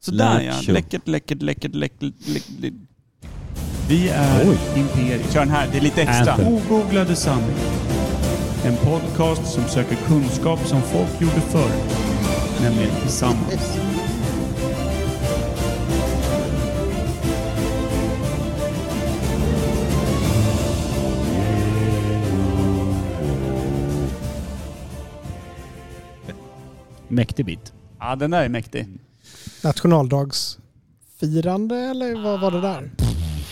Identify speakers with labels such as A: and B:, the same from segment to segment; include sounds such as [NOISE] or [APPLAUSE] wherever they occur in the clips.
A: Sådär ja.
B: Lattjo.
A: Läckert, läckert, läckert, läckert, läckert. Vi är
B: Oj.
A: Imperium. Kör den här, det är lite extra.
B: Anthem.
C: Ogooglade sanningar. En podcast som söker kunskap som folk gjorde förr. Nämligen tillsammans.
B: Mäktig bit.
A: Ja, den där är mäktig.
D: Nationaldagsfirande eller vad var det där?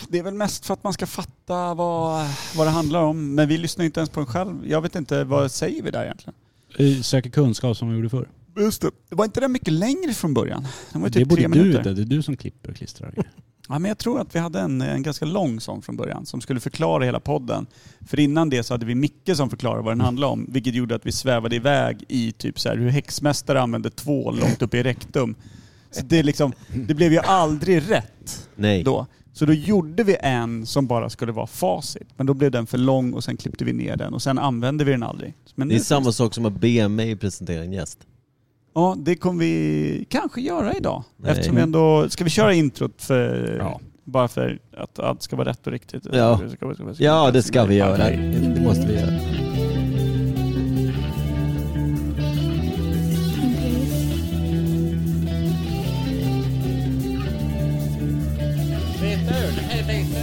A: Det är väl mest för att man ska fatta vad, vad det handlar om. Men vi lyssnar inte ens på den själv. Jag vet inte, vad säger vi där egentligen?
B: Eh, Söker kunskap som vi gjorde förr.
A: Just det. det var inte den mycket längre från början. Den var ju
B: det
A: typ
B: borde
A: tre
B: du
A: minuter.
B: inte. Det är du som klipper och klistrar.
A: Ja, men jag tror att vi hade en, en ganska lång sån från början som skulle förklara hela podden. För innan det så hade vi Micke som förklarade
E: Mm.
A: vad den handlade om, vilket gjorde att vi svävade iväg i typ så här hur häxmästare använde tvål långt upp i rektum. Så det, är liksom, det blev ju aldrig rätt
E: Nej.
A: då. Så då gjorde vi en som bara skulle vara facit, men då blev den för lång och sen klippte vi ner den och sen använde vi den aldrig. Men
E: Det är
A: nu-
E: samma sak som att be mig presentera en gäst.
A: Ja, det kommer vi kanske göra idag.
E: Nej.
A: Eftersom vi ändå... Ska vi köra introt för...
B: Ja.
A: Bara för att allt ska vara rätt och riktigt?
E: Ja.
A: Ska vi- ska vi- ska vi- ska vi-
E: Ja, det ska vi göra. Det måste vi göra.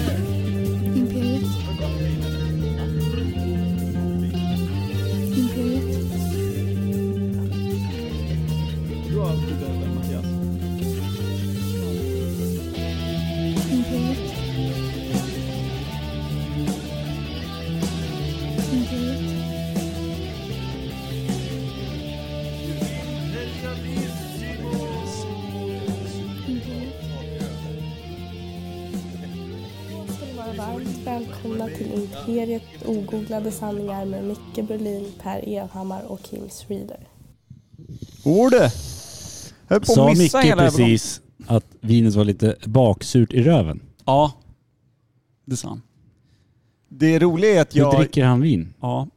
F: Imperiet. Imperiet. Imperiet. Imperiet. Imperiet.
G: ska ni vara varmt välkomna till Imperiet ogooglade sanningar med Micke Berlin, Per Evhammar och Kim Reader.
A: Orde! Höll på
B: Sa
A: att missa
B: Micke
A: hela övergången.
B: precis att vinet var lite baksurt i röven?
A: Ja. Det sa han. Det roliga är att
B: Hur
A: jag...
B: dricker han vin?
A: Ja.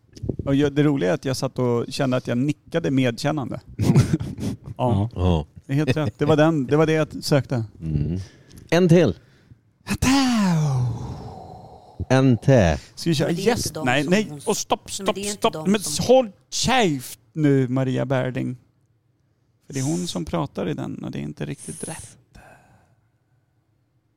A: Och jag, det roliga är att jag satt och kände att jag nickade medkännande. Ja,
E: Mm. [LAUGHS] Ja.
A: det är helt rätt. Det var, den, det var det jag sökte.
E: Mm. En till. En till.
A: Ska vi köra
H: Men det är
A: gäst?
H: inte de
A: Nej,
H: som-
A: nej. Och stopp,
H: Nej, men
A: stopp,
H: det är inte
A: stopp.
H: de
A: Men
H: som-
A: håll käft nu Maria Berding. För det är hon som pratar i den och det är inte riktigt rätt.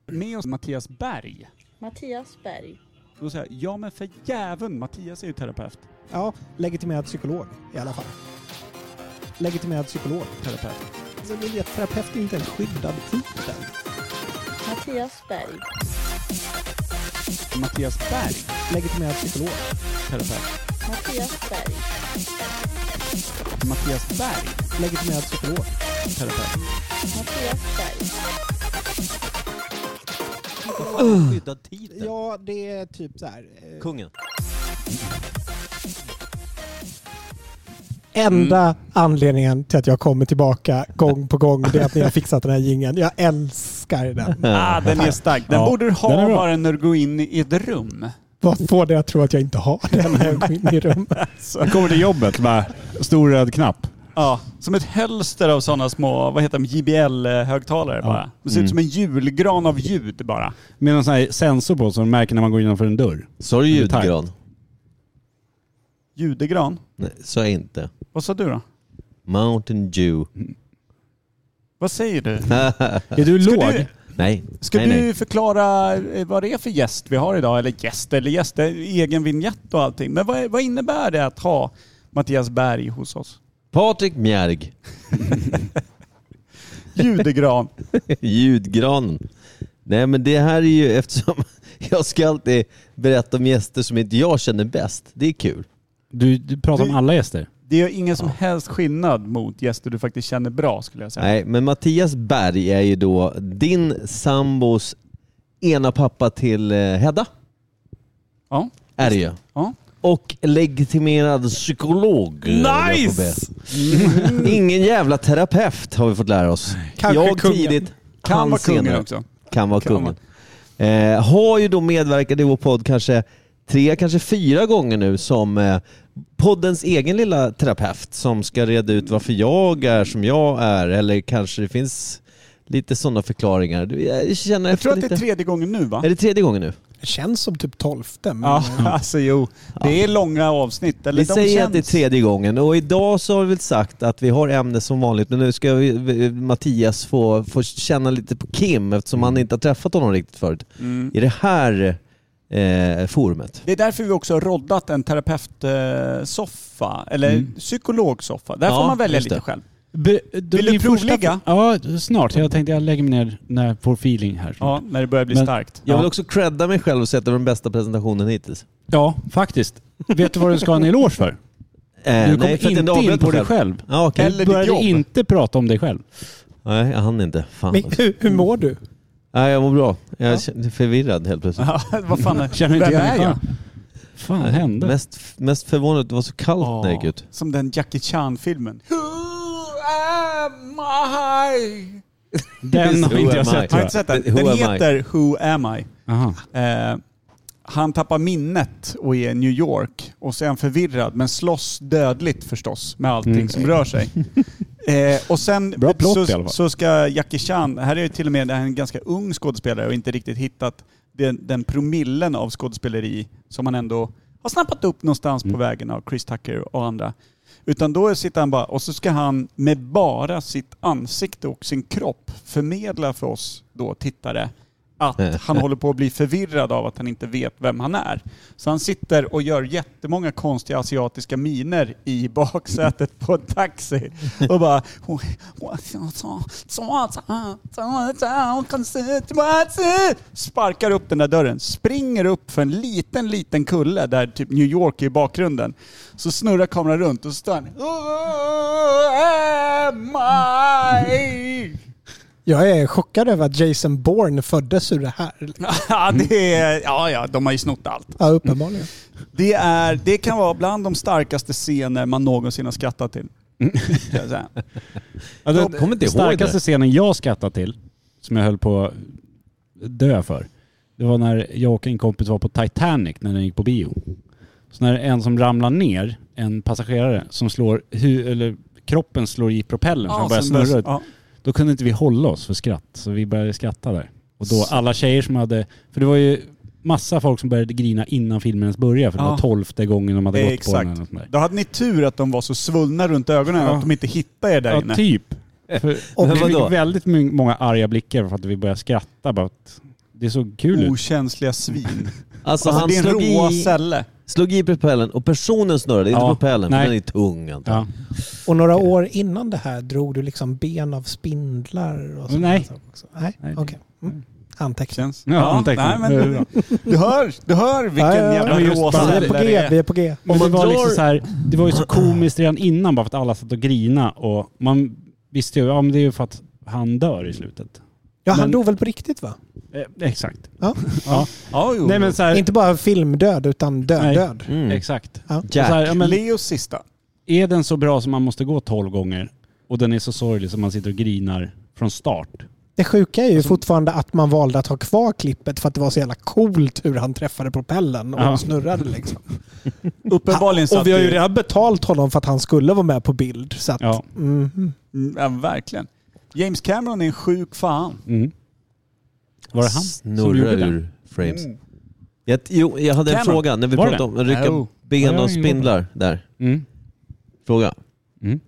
A: Med oss Mattias Berg.
H: Mattias Berg.
A: Då säger jag, ja men för jäveln, Mattias är ju terapeut.
D: Ja, legitimerad psykolog i alla fall. Legitimerad psykolog.
A: terapeut.
D: Alltså, det är terapeut är inte en skyddad titel.
H: Mattias Berg.
A: Mattias Berg,
D: Legitimerad psykolog.
A: terapeut.
H: Mattias Berg.
A: Mattias Berg,
D: Legitimerad psykolog.
A: terapeut.
H: Mattias Berg.
E: Skyddad titel.
D: Ja, det är typ så här. eh,
E: Kungen.
D: Enda anledningen till att jag kommer tillbaka gång på gång det är att ni har fixat den här gingen. Jag älskar den.
A: Ah, den är stark. Den
B: Ja,
A: borde du
B: den
A: ha
B: är bra.
A: bara när du går in i ett rum.
D: Vad får det att tro att jag inte har den när jag går in i rummet?
I: Jag kommer till jobbet med stor röd knapp.
A: Ja, som ett hölster av sådana små, vad heter de, JBL-högtalare bara. Det
E: Mm.
A: ser ut som en julgran av ljud bara.
I: Med någon sån här sensor på som man märker när man går innanför en dörr.
E: Sa du
I: Tack.
E: ljudgran?
A: Judegran?
E: Nej, sa jag inte.
A: Vad sa du då?
E: Mountain Dew.
A: Vad säger du?
B: Är du
A: Ska
B: låg?
A: du,
E: Nej.
A: ska
E: nej,
A: du
E: nej.
A: förklara eh, vad det är för gäst vi har idag? Eller gäst eller gäst, det är egen vignett och allting. Men vad, är- vad innebär det att ha Mattias Berg hos oss?
E: Patrik [LAUGHS] Mjärg. [LAUGHS]
A: Judegran.
E: Ljudgranen. Nej men det här är ju eftersom [LAUGHS] jag ska alltid berätta om gäster som inte jag känner bäst. Det är kul.
B: Du, du pratar om alla gäster.
A: Det gör ingen som helst skillnad mot gäster du faktiskt känner bra skulle jag säga.
E: Nej, men Mattias Berg är ju då din sambos ena pappa till eh, Hedda.
A: Ja.
E: Är det ju.
A: Ja.
E: Och legitimerad psykolog. eh, höll jag på att be. Ingen jävla terapeut har vi fått lära oss.
D: Kanske
E: jag
D: kungen.
E: tidigt,
A: Kan
E: han
A: vara kungen
E: senare.
A: också.
E: Kan vara
A: Kan
E: kungen. Eh, har ju då medverkat i vår podd kanske tre, kanske fyra gånger nu som eh, poddens egen lilla terapeut som ska reda ut varför jag är som jag är eller kanske det finns Lite sådana förklaringar. Du, Jag känner
A: Jag
E: efter
A: tror att det
E: lite.
A: är tredje gången nu va?
E: Är det tredje gången nu?
D: Det känns som typ tolfte. Men
A: Ja, [LAUGHS] alltså jo. Det är långa avsnitt. Eller
E: Vi
A: de
E: säger
A: känns...
E: att det är tredje gången och idag så har vi väl sagt att vi har ämne som vanligt men nu ska vi, vi- Mattias få, få känna lite på Kim eftersom han inte har träffat honom riktigt förut.
A: Mm.
E: I det här eh, forumet.
A: Det är därför vi också har roddat en terapeutsoffa, eller
B: Mm.
A: psykologsoffa. Där
E: Ja,
A: får man välja
E: just det.
A: lite själv.
B: Be, då,
A: Vill du
B: min första-
A: provligga?
B: Ja, snart. Jag tänkte jag lägger mig ner när jag får feeling här.
A: Ja, när det börjar bli
B: Men-
A: starkt.
E: Jag
B: Ja.
E: vill också credda mig själv och säga att det var den bästa presentationen hittills.
B: Ja, faktiskt. Vet du vad du ska ha en eloge för?
E: Eh,
B: Du kom
E: för att jag
B: inte
E: avbröt
B: in
E: mig
B: på dig själv.
E: Ja, okej.
A: Eller
B: Du
A: ditt
B: började
A: jobb.
B: inte prata om dig själv.
E: Nej, jag hann inte. Fan. alltså.
D: men hur, hur mår du?
E: Nej, jag mår bra. Jag är förvirrad helt plötsligt.
A: Ja, [LAUGHS] vad fan är,
B: Känner inte
A: vem
B: igen
A: är
B: mig.
A: jag?
B: Fan, vad hände?
E: Mest, mest förvånad att det var så kallt när
A: Ja,
E: jag gick ut.
A: Som den Jackie Chan-filmen. Who am I?
B: Den har
E: Who
B: inte
E: am
B: jag
E: I?
B: sett
A: Har
B: tror
A: du
B: jag.
A: inte sett den?
E: Who
A: Den
E: am I?
A: heter Who am I?
B: Aha.
A: Eh, han tappar minnet och är i New York och så är han förvirrad men slåss dödligt förstås med allting
B: Mm.
A: som rör sig. Eh, och sen
B: Bra plott
A: så,
B: i alla fall.
A: så ska Jackie Chan, här är ju till och med det här är en ganska ung skådespelare och inte riktigt hittat den, den promillen av skådespeleri som han ändå har snappat upp någonstans
B: Mm.
A: på vägen av Chris Tucker och andra. Utan då sitter han bara, och så ska han med bara sitt ansikte och sin kropp förmedla för oss då tittare att han håller på att bli förvirrad av att han inte vet vem han är. Så han sitter och gör jättemånga konstiga asiatiska miner i baksätet på en taxi och bara... Sparkar upp den där dörren, springer upp för en liten, liten kulle där typ New York är i bakgrunden. Så snurrar kameran runt och så står han... "Who am I?" [LAUGHS]
D: Jag är chockad över att Jason Bourne föddes ur det här.
A: Ja, det är, ja, ja, de har ju snott allt.
D: Ja, uppenbarligen.
A: Det, är, det kan vara bland de starkaste scener man någonsin har skrattat till. Ska jag säga.
B: Ja, den
E: Jag kommer inte ihåg
B: starkaste
E: det.
B: scenen jag skrattade till, som jag höll på att dö för, det var när jag och en kompis var på Titanic när den gick på bio. Så när en som ramlar ner, en passagerare, som slår hu- eller kroppen slår i propellern för
A: Ja,
B: att börja
A: sen
B: snurra.
A: börjar- ja.
B: Då kunde inte vi hålla oss för skratt, så vi började skratta där. Och då alla tjejer som hade, för det var ju massa folk som började grina innan filmen ens började, för det
A: Ja.
B: var tolfte gången de hade
A: Det
B: gått
A: är
B: på den. Eller
A: exakt.
B: något sånt där.
A: Då hade ni tur att de var så svullna runt ögonen
B: Ja.
A: att de inte hittade er där
B: Ja,
A: inne.
B: typ. För,
E: Men
B: vi
E: vadå?
B: fick väldigt my- många arga blickar för att vi började skratta. Bara att det såg kul
A: Oh,
B: ut.
A: Okänsliga svin.
E: Alltså,
A: Alltså
E: han
A: din
E: slog
A: råa
E: i,
A: sälle.
E: slog i propellen och personen snurrade,
B: Ja,
E: inte propellen för
B: nej.
E: den är tung antar jag.
B: Ja.
D: Och några år innan det här drog du liksom ben av spindlar och sånt
B: Nej.
D: där Också. Nej,
B: Nej.
D: okej. Mm. Anteckning.
A: Känns.
B: Ja, anteckningar.
A: nej, men, du hör, du hör vilken
D: Ja, ja, ja.
A: jävla
B: Ja, just
A: rå
B: bara-
D: Vi är på
A: sälle det
D: G,
A: är.
D: vi är på G.
B: Men det,
E: man
B: var
E: drar-
B: liksom så här, det var ju så komiskt redan innan bara för att alla satt och grina och man visste ju, ja men det är ju för att han dör i slutet.
D: Ja, han
B: Men-
D: dog väl på riktigt va?
B: Eh, exakt.
D: Ja.
B: Ja.
A: Ja, jo.
B: Nej men så här,
D: Inte bara filmdöd utan
B: Nej.
D: död-död.
E: Mm.
B: exakt.
D: Ja.
B: Och Så här, ja, men,
A: Leos sista.
B: är den så bra som man måste gå tolv gånger och den är så sorglig som man sitter och grinar från start.
D: Det sjuka är ju
B: Alltså-
D: fortfarande att man valde att ha kvar klippet för att det var så jävla coolt hur han träffade propellen och
B: Ja.
D: snurrade liksom.
A: Uppenbarligen
D: och
A: satt
D: vi har ju
A: det-
D: redan betalt honom för att han skulle vara med på bild. Så att,
B: Ja.
D: mhm.
A: Mm, Ja, verkligen. James Cameron är en sjuk fan.
B: Mm. Var det han som
E: Snurrar
B: gjorde den?
E: ur frames. Jag, jo, jag hade en
A: Cameron.
E: fråga när vi
B: Var
E: pratade
B: det?
E: om att rycka
A: Jo.
E: ben
B: Ja,
E: av
B: jag gjorde
E: spindlar där.
B: Mm.
E: Fråga.
B: Mm.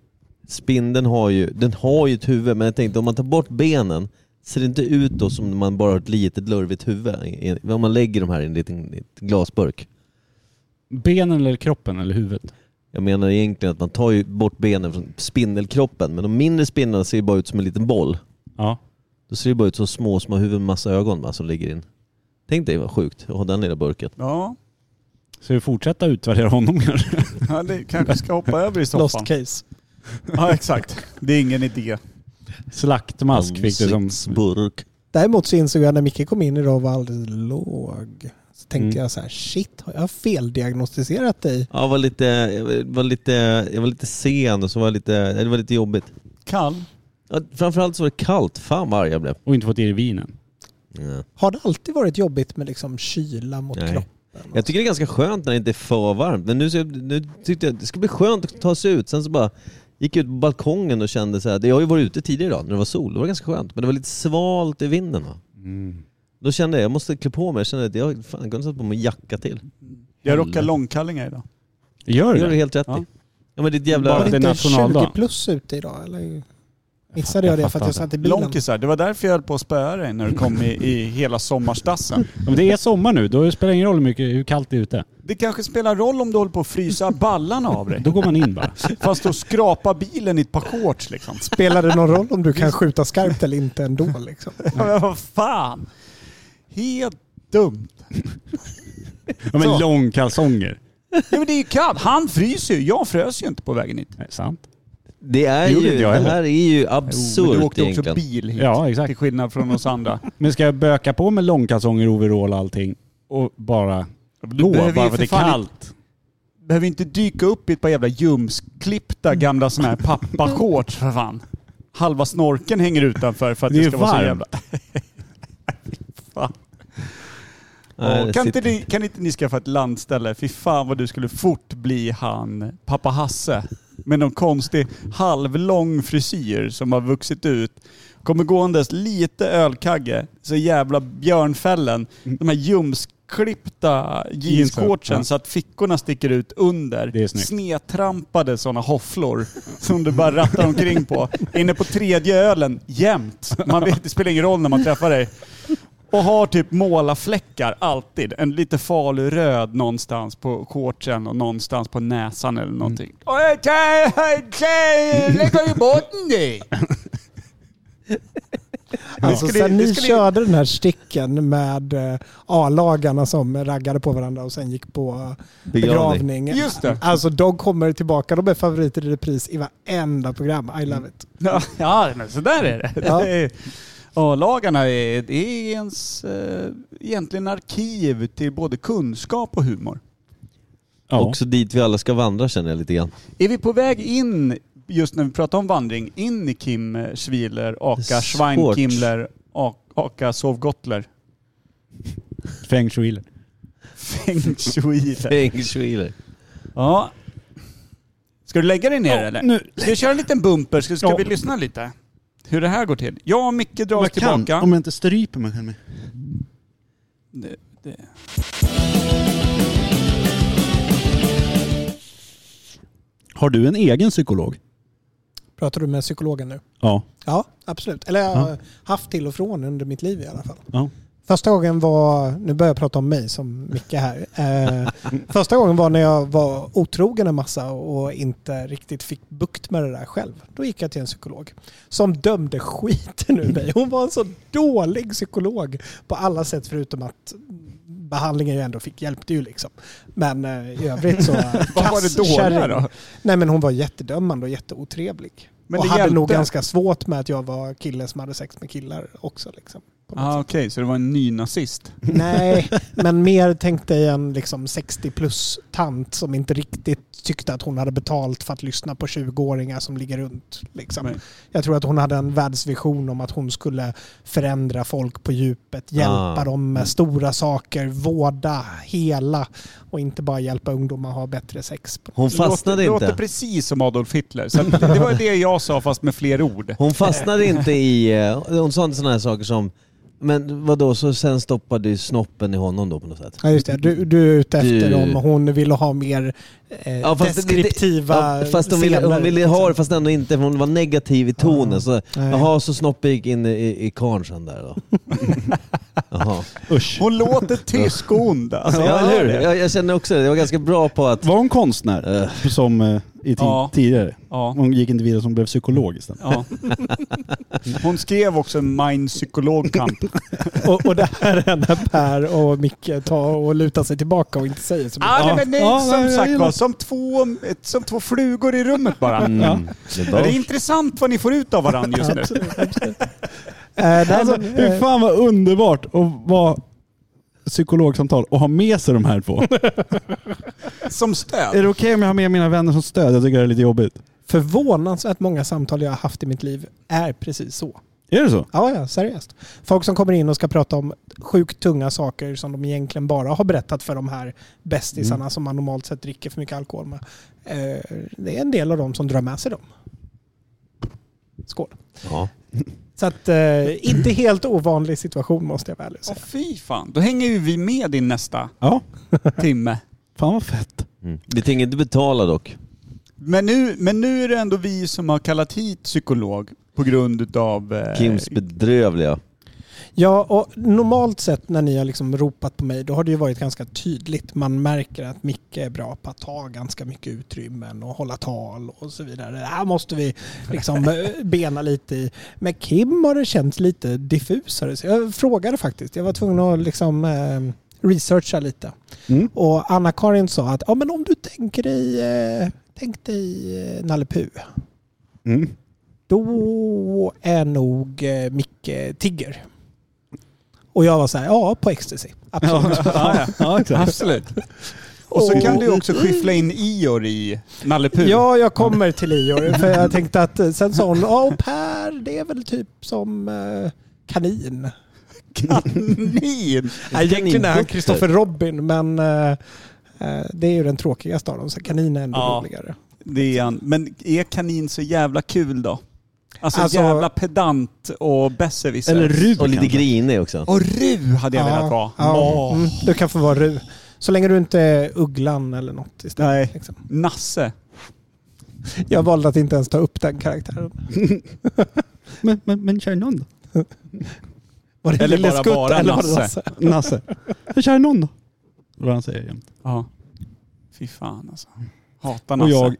E: Spindeln har ju, den har ju ett huvud men jag tänkte om man tar bort benen ser det inte ut då som om man bara har ett litet lurvigt huvud? i- i- Om man lägger de här i en liten i ett glasburk.
B: Benen eller kroppen eller huvudet?
E: Jag menar egentligen att man tar ju bort benen från spindelkroppen men de mindre spindlarna ser ju bara ut som en liten boll.
B: Ja.
E: Då ser det bara ut som små, små huvuden med massa ögon va, som ligger in. Tänk dig vad sjukt att ha den lilla burken.
A: Ja,
B: Så vi fortsätta utvärdera honom [LAUGHS] kanske?
A: ja det kanske ska hoppa över i
D: Lost
A: soffan.
D: case.
A: Ja, exakt. Det är ingen idé.
B: Slaktmask fick du som...
E: Ansiktsburk.
D: Däremot så insåg jag när Micke kom in idag och var alldeles låg. Så tänkte
B: Mm.
D: jag så här, shit, har jag feldiagnostiserat dig?
E: Ja, jag var lite, jag var lite, jag var lite sen och så var jag lite, det var lite jobbigt.
A: Kall.
E: Ja, framförallt så var det kallt. Fan vad arg jag blev.
B: Och inte fått i dig vinen.
E: Ja.
D: Har det alltid varit jobbigt med liksom kyla mot
E: Nej.
D: kroppen?
E: Jag tycker det är ganska skönt när det inte är för varmt. Men nu, så, nu tyckte jag det ska bli skönt att ta sig ut. Sen så bara Gick ut på balkongen och kände så här, jag har ju varit ute tidigare idag när det var sol, det var ganska skönt. Men det var lite svalt i vinden. Då, då kände jag, jag måste klä på mig. Jag kände att jag fan, jag kunde sätta på mig en jacka till.
A: Jag rockar långkallingar idag.
B: Gör
E: Det
B: du
E: gör du
B: det?
E: helt rätt
B: Ja.
E: i. Ja men det är ett
B: Bara
E: jävla...
B: det är
D: inte
B: nationaldag.
D: 20 plus ute idag eller? Missade jag
B: jag
D: det för att
B: fattar
D: jag satt i bilen?
A: Långkisar, det var därför jag höll på att spöa dig när du kom i, i hela sommarstassen.
B: Ja, men det är sommar nu, då spelar det ingen roll hur, mycket, hur kallt det är ute.
A: Det kanske spelar roll om du håller på att frysa ballarna av dig.
B: Då går man
I: [LAUGHS]
B: in bara.
A: Fast då skrapa bilen i ett par shorts liksom.
D: Spelar det någon roll om du kan skjuta skarpt eller inte ändå?
B: [LAUGHS]
D: Liksom?
A: Ja, men [LAUGHS] vad fan! Helt dumt.
B: Ja,
A: Så.
B: men långkalsonger.
A: Ja, men det är ju kallt. Han fryser ju. Jag frös ju inte på vägen hit.
B: Nej, sant.
E: Det, är
B: Det gjorde
E: ju,
B: inte
E: det
B: jag heller.
E: här är ju
A: Jo, men
E: absurt
A: du åkte också
E: egentligen.
A: bil hit.
B: Ja, exakt.
A: Till skillnad från oss andra.
B: Men ska jag böka på med långkalsonger, overall och allting och bara gå
A: behöver
B: bara
A: ju för
B: för att det är
A: fan
B: kallt?
A: Behöver inte dyka upp i ett par jävla ljumsklippta gamla såna här pappashorts för fan. Halva snorken hänger utanför för att
B: Det
A: det,
B: är
A: ska vara så
B: varmt. [LAUGHS]
A: jävla... Fy fan.
E: Nej, det
A: kan, inte
E: sitter-
A: ni, kan inte ni skaffa ett landställe? Fy fan vad du skulle fort bli han pappa Hasse. Med någon konstig halvlång frisyr som har vuxit ut. Kommer gåendes lite ölkagge, så jävla björnfällen. De här ljumsklippta jeansshortsen
B: Ja.
A: så att fickorna sticker ut under.
B: Det är snyggt.
A: Snedtrampade sådana hofflor som du bara rattar omkring på. Inne på tredje ölen jämt. Man vet, det spelar ingen roll när man träffar dig. Och har typ målarfläckar alltid. En lite farlig röd någonstans på shortsen och någonstans på näsan eller någonting. Oj, tjej, hej, tjej, Lägg av i båten dig!
D: Alltså,
A: Det skulle-
D: sen
A: det
D: ni
A: skulle-
D: körde den här sticken med eh, A-lagarna som raggade på varandra och sen gick på
E: Begravning.
D: begravning.
A: Just det.
D: Alltså de kommer tillbaka, de är favoriter i repris i varenda program. I love it.
A: Ja, Ja, men så där är det.
D: Ja.
A: det är, A-lagarna är, det är ens eh, egentligen arkiv till både kunskap och humor.
B: Ja.
E: Också dit vi alla ska vandra känner jag lite grann.
A: Är vi på väg in, just när vi pratar om vandring, in i Kim eh, Schwiler, Aka
E: Svårt.
A: Schweinkimler, A- Aka Sovgottler?
B: Feng shui.
A: [LAUGHS] Feng
E: [LAUGHS]
A: Shui.
E: Feng shui.
A: Ja. Ska du lägga dig ner eller?
B: Nu.
A: Ska vi köra en liten bumper? Ska, ska
B: Ja.
A: vi lyssna lite? Hur det här går till? Jag och Micke drar oss
I: Jag kan,
A: tillbaka.
I: om jag inte stryper mig själv.
A: Det- det-
I: Har du en egen psykolog?
D: Pratar du med psykologen nu?
I: Ja.
D: Ja, absolut. Eller jag har haft till och från under mitt liv i alla fall.
I: Ja.
D: Första gången var, nu börjar jag prata om mig som Micke här. Eh, första gången var när jag var otrogen en massa och inte riktigt fick bukt med det där själv. Då gick jag till en psykolog som dömde skiten ur mig. Hon var en så dålig psykolog på alla sätt förutom att behandlingen jag ändå fick hjälpte ju liksom. Men eh, i övrigt så...
A: [LAUGHS] Vad var det dåliga
D: kasskärring.
A: då?
D: Nej men hon var jättedömande och jätteotrevlig.
A: Men
D: och
A: det
D: hade
A: hjälpte.
D: nog ganska svårt med att jag var kille som hade sex med killar också. Liksom, på något
A: Ah,
D: sätt.
A: Okej, så det var en ny nazist.
D: Nej, men mer tänkte jag en liksom 60 plus tant som inte riktigt tyckte att hon hade betalt för att lyssna på 20-åringar som ligger runt. Liksom.
A: Nej.
D: Jag tror att hon hade en världsvision om att hon skulle förändra folk på djupet, hjälpa
E: Ah.
D: dem med stora saker, vårda, hela och inte bara hjälpa ungdomar att ha bättre sex.
E: Hon
A: låter,
E: fastnade
A: låter
E: inte.
A: precis som Adolf Hitler. Så att det det var det jag sa fast med fler ord.
E: Hon fastnade inte i... eh, Hon sa inte sådana här saker som... Men vadå, så sen stoppade du snoppen i honom då på något sätt?
D: Ja just det, du, du är ute efter
E: Du-
D: om hon ville ha mer eh,
E: Ja, fast det- det-
D: deskriptiva
E: Ja, fast hon ville,
D: scener, Liksom.
E: hon ville ha det fast ändå inte, för hon var negativ i tonen. Så,
D: Nej.
E: jaha, så snoppen gick in i, i, i karln sen där då. Jaha.
B: Usch.
A: Hon låter tysk och ond. Alltså,
E: Ja,
A: jag hör
E: eller hur?
A: det.
E: Jag, jag känner också det. Jag var ganska bra på att...
I: Var hon konstnär? Som eh, i ti-
A: Ja.
I: tidigare?
A: Ja.
I: Hon gick inte vidare som blev psykolog istället.
A: Ja. Hon skrev också Mein
E: [LAUGHS]
A: Psykologkamp.
D: Och, och det här är när Per och Micke tar och lutar sig tillbaka och inte säger så mycket.
A: Ah, nej, men nej,
I: Ja,
A: som
I: nej, jag
A: sagt
I: gillar-
A: var, som två, ett- som två flugor i rummet bara.
E: Mm.
A: Ja.
E: Det
A: Det
E: var-
A: är intressant vad ni får ut av varandra just nu.
D: Eh,
E: Ah.
D: nej,
I: Alltså,
D: men,
I: hur
D: eh,
I: fan vad underbart att vara psykologsamtal och ha med sig de här två. är
A: Som
I: det
A: stöd.
I: okej om jag har med mina vänner som stöd? Jag tycker det är lite jobbigt.
D: förvånansvärt många samtal jag har haft i mitt liv är precis så.
I: Är det så?
D: Ja, ja, seriöst. Folk som kommer in och ska prata om sjukt tunga saker som de egentligen bara har berättat för de här bästisarna
E: Mm.
D: som man normalt sett dricker för mycket alkohol med. Eh, Det är en del av dem som drar med sig dem. Skål.
E: Ja.
D: Så att, eh, inte helt ovanlig situation måste jag väl
A: Åh
D: säga.
A: fy fan, då hänger ju vi med din nästa
I: Ja.
A: timme.
I: Fan vad fett.
E: Mm. Vi tänker inte betala dock.
A: Men nu, men nu är det ändå vi som har kallat hit psykolog på grund utav... eh,
E: Kims bedrövliga.
D: Ja, och normalt sett när ni har liksom ropat på mig då har det ju varit ganska tydligt. Man märker att Micke är bra på att ta ganska mycket utrymmen och hålla tal och så vidare. Det här måste vi liksom eh, bena lite i. Med Kim har det känts lite diffusare. Så jag frågade faktiskt. Jag var tvungen att liksom eh, researcha lite.
I: Mm.
D: Och Anna-Karin sa att ja, men om du tänker dig, eh, tänk dig eh, Nalle Puh,
I: Mm.
D: då är nog eh, Micke Tigger. Och jag var så här, ja på ecstasy. Absolut.
A: ja, [LAUGHS]
I: Ja, exakt.
A: Absolut. Och så kan du också skyffla in Ior i Nalle Puh.
D: Ja, jag kommer till Ior. För jag tänkte att eh, sen sa hon, ja och Per det är väl typ som eh, kanin.
A: [LAUGHS] Kanin!
D: Nej, Egentligen är han Kristoffer Robin men eh, eh, det är ju den tråkigaste av dem så kanin är ändå
A: Ja.
D: roligare.
A: Det är han. Men är kanin så jävla kul då? Alltså,
D: Alltså-
A: jävla pedant och besserwisser.
B: Eller Rud
E: Och lite
B: kanske.
E: grinig också.
A: Och Ru hade jag velat vara.
D: Ja.
A: Åh.
D: Mm, du kan få vara Ru. Så länge du inte är Ugglan eller något istället.
A: Nej.
D: Liksom.
A: Nasse.
D: Jag valde att inte ens ta upp den karaktären.
B: Men, men, men kör någon då?
D: Var det
A: Eller
D: Lille
A: bara-
D: Skutt
A: bara
D: eller var det
A: Nasse.
D: Nasse?
B: Nasse. Jag kör någon då? Det är Vad han säger jämt.
A: Ja. Fy fan alltså. Hatar
I: Och
A: Nasse.
I: jag...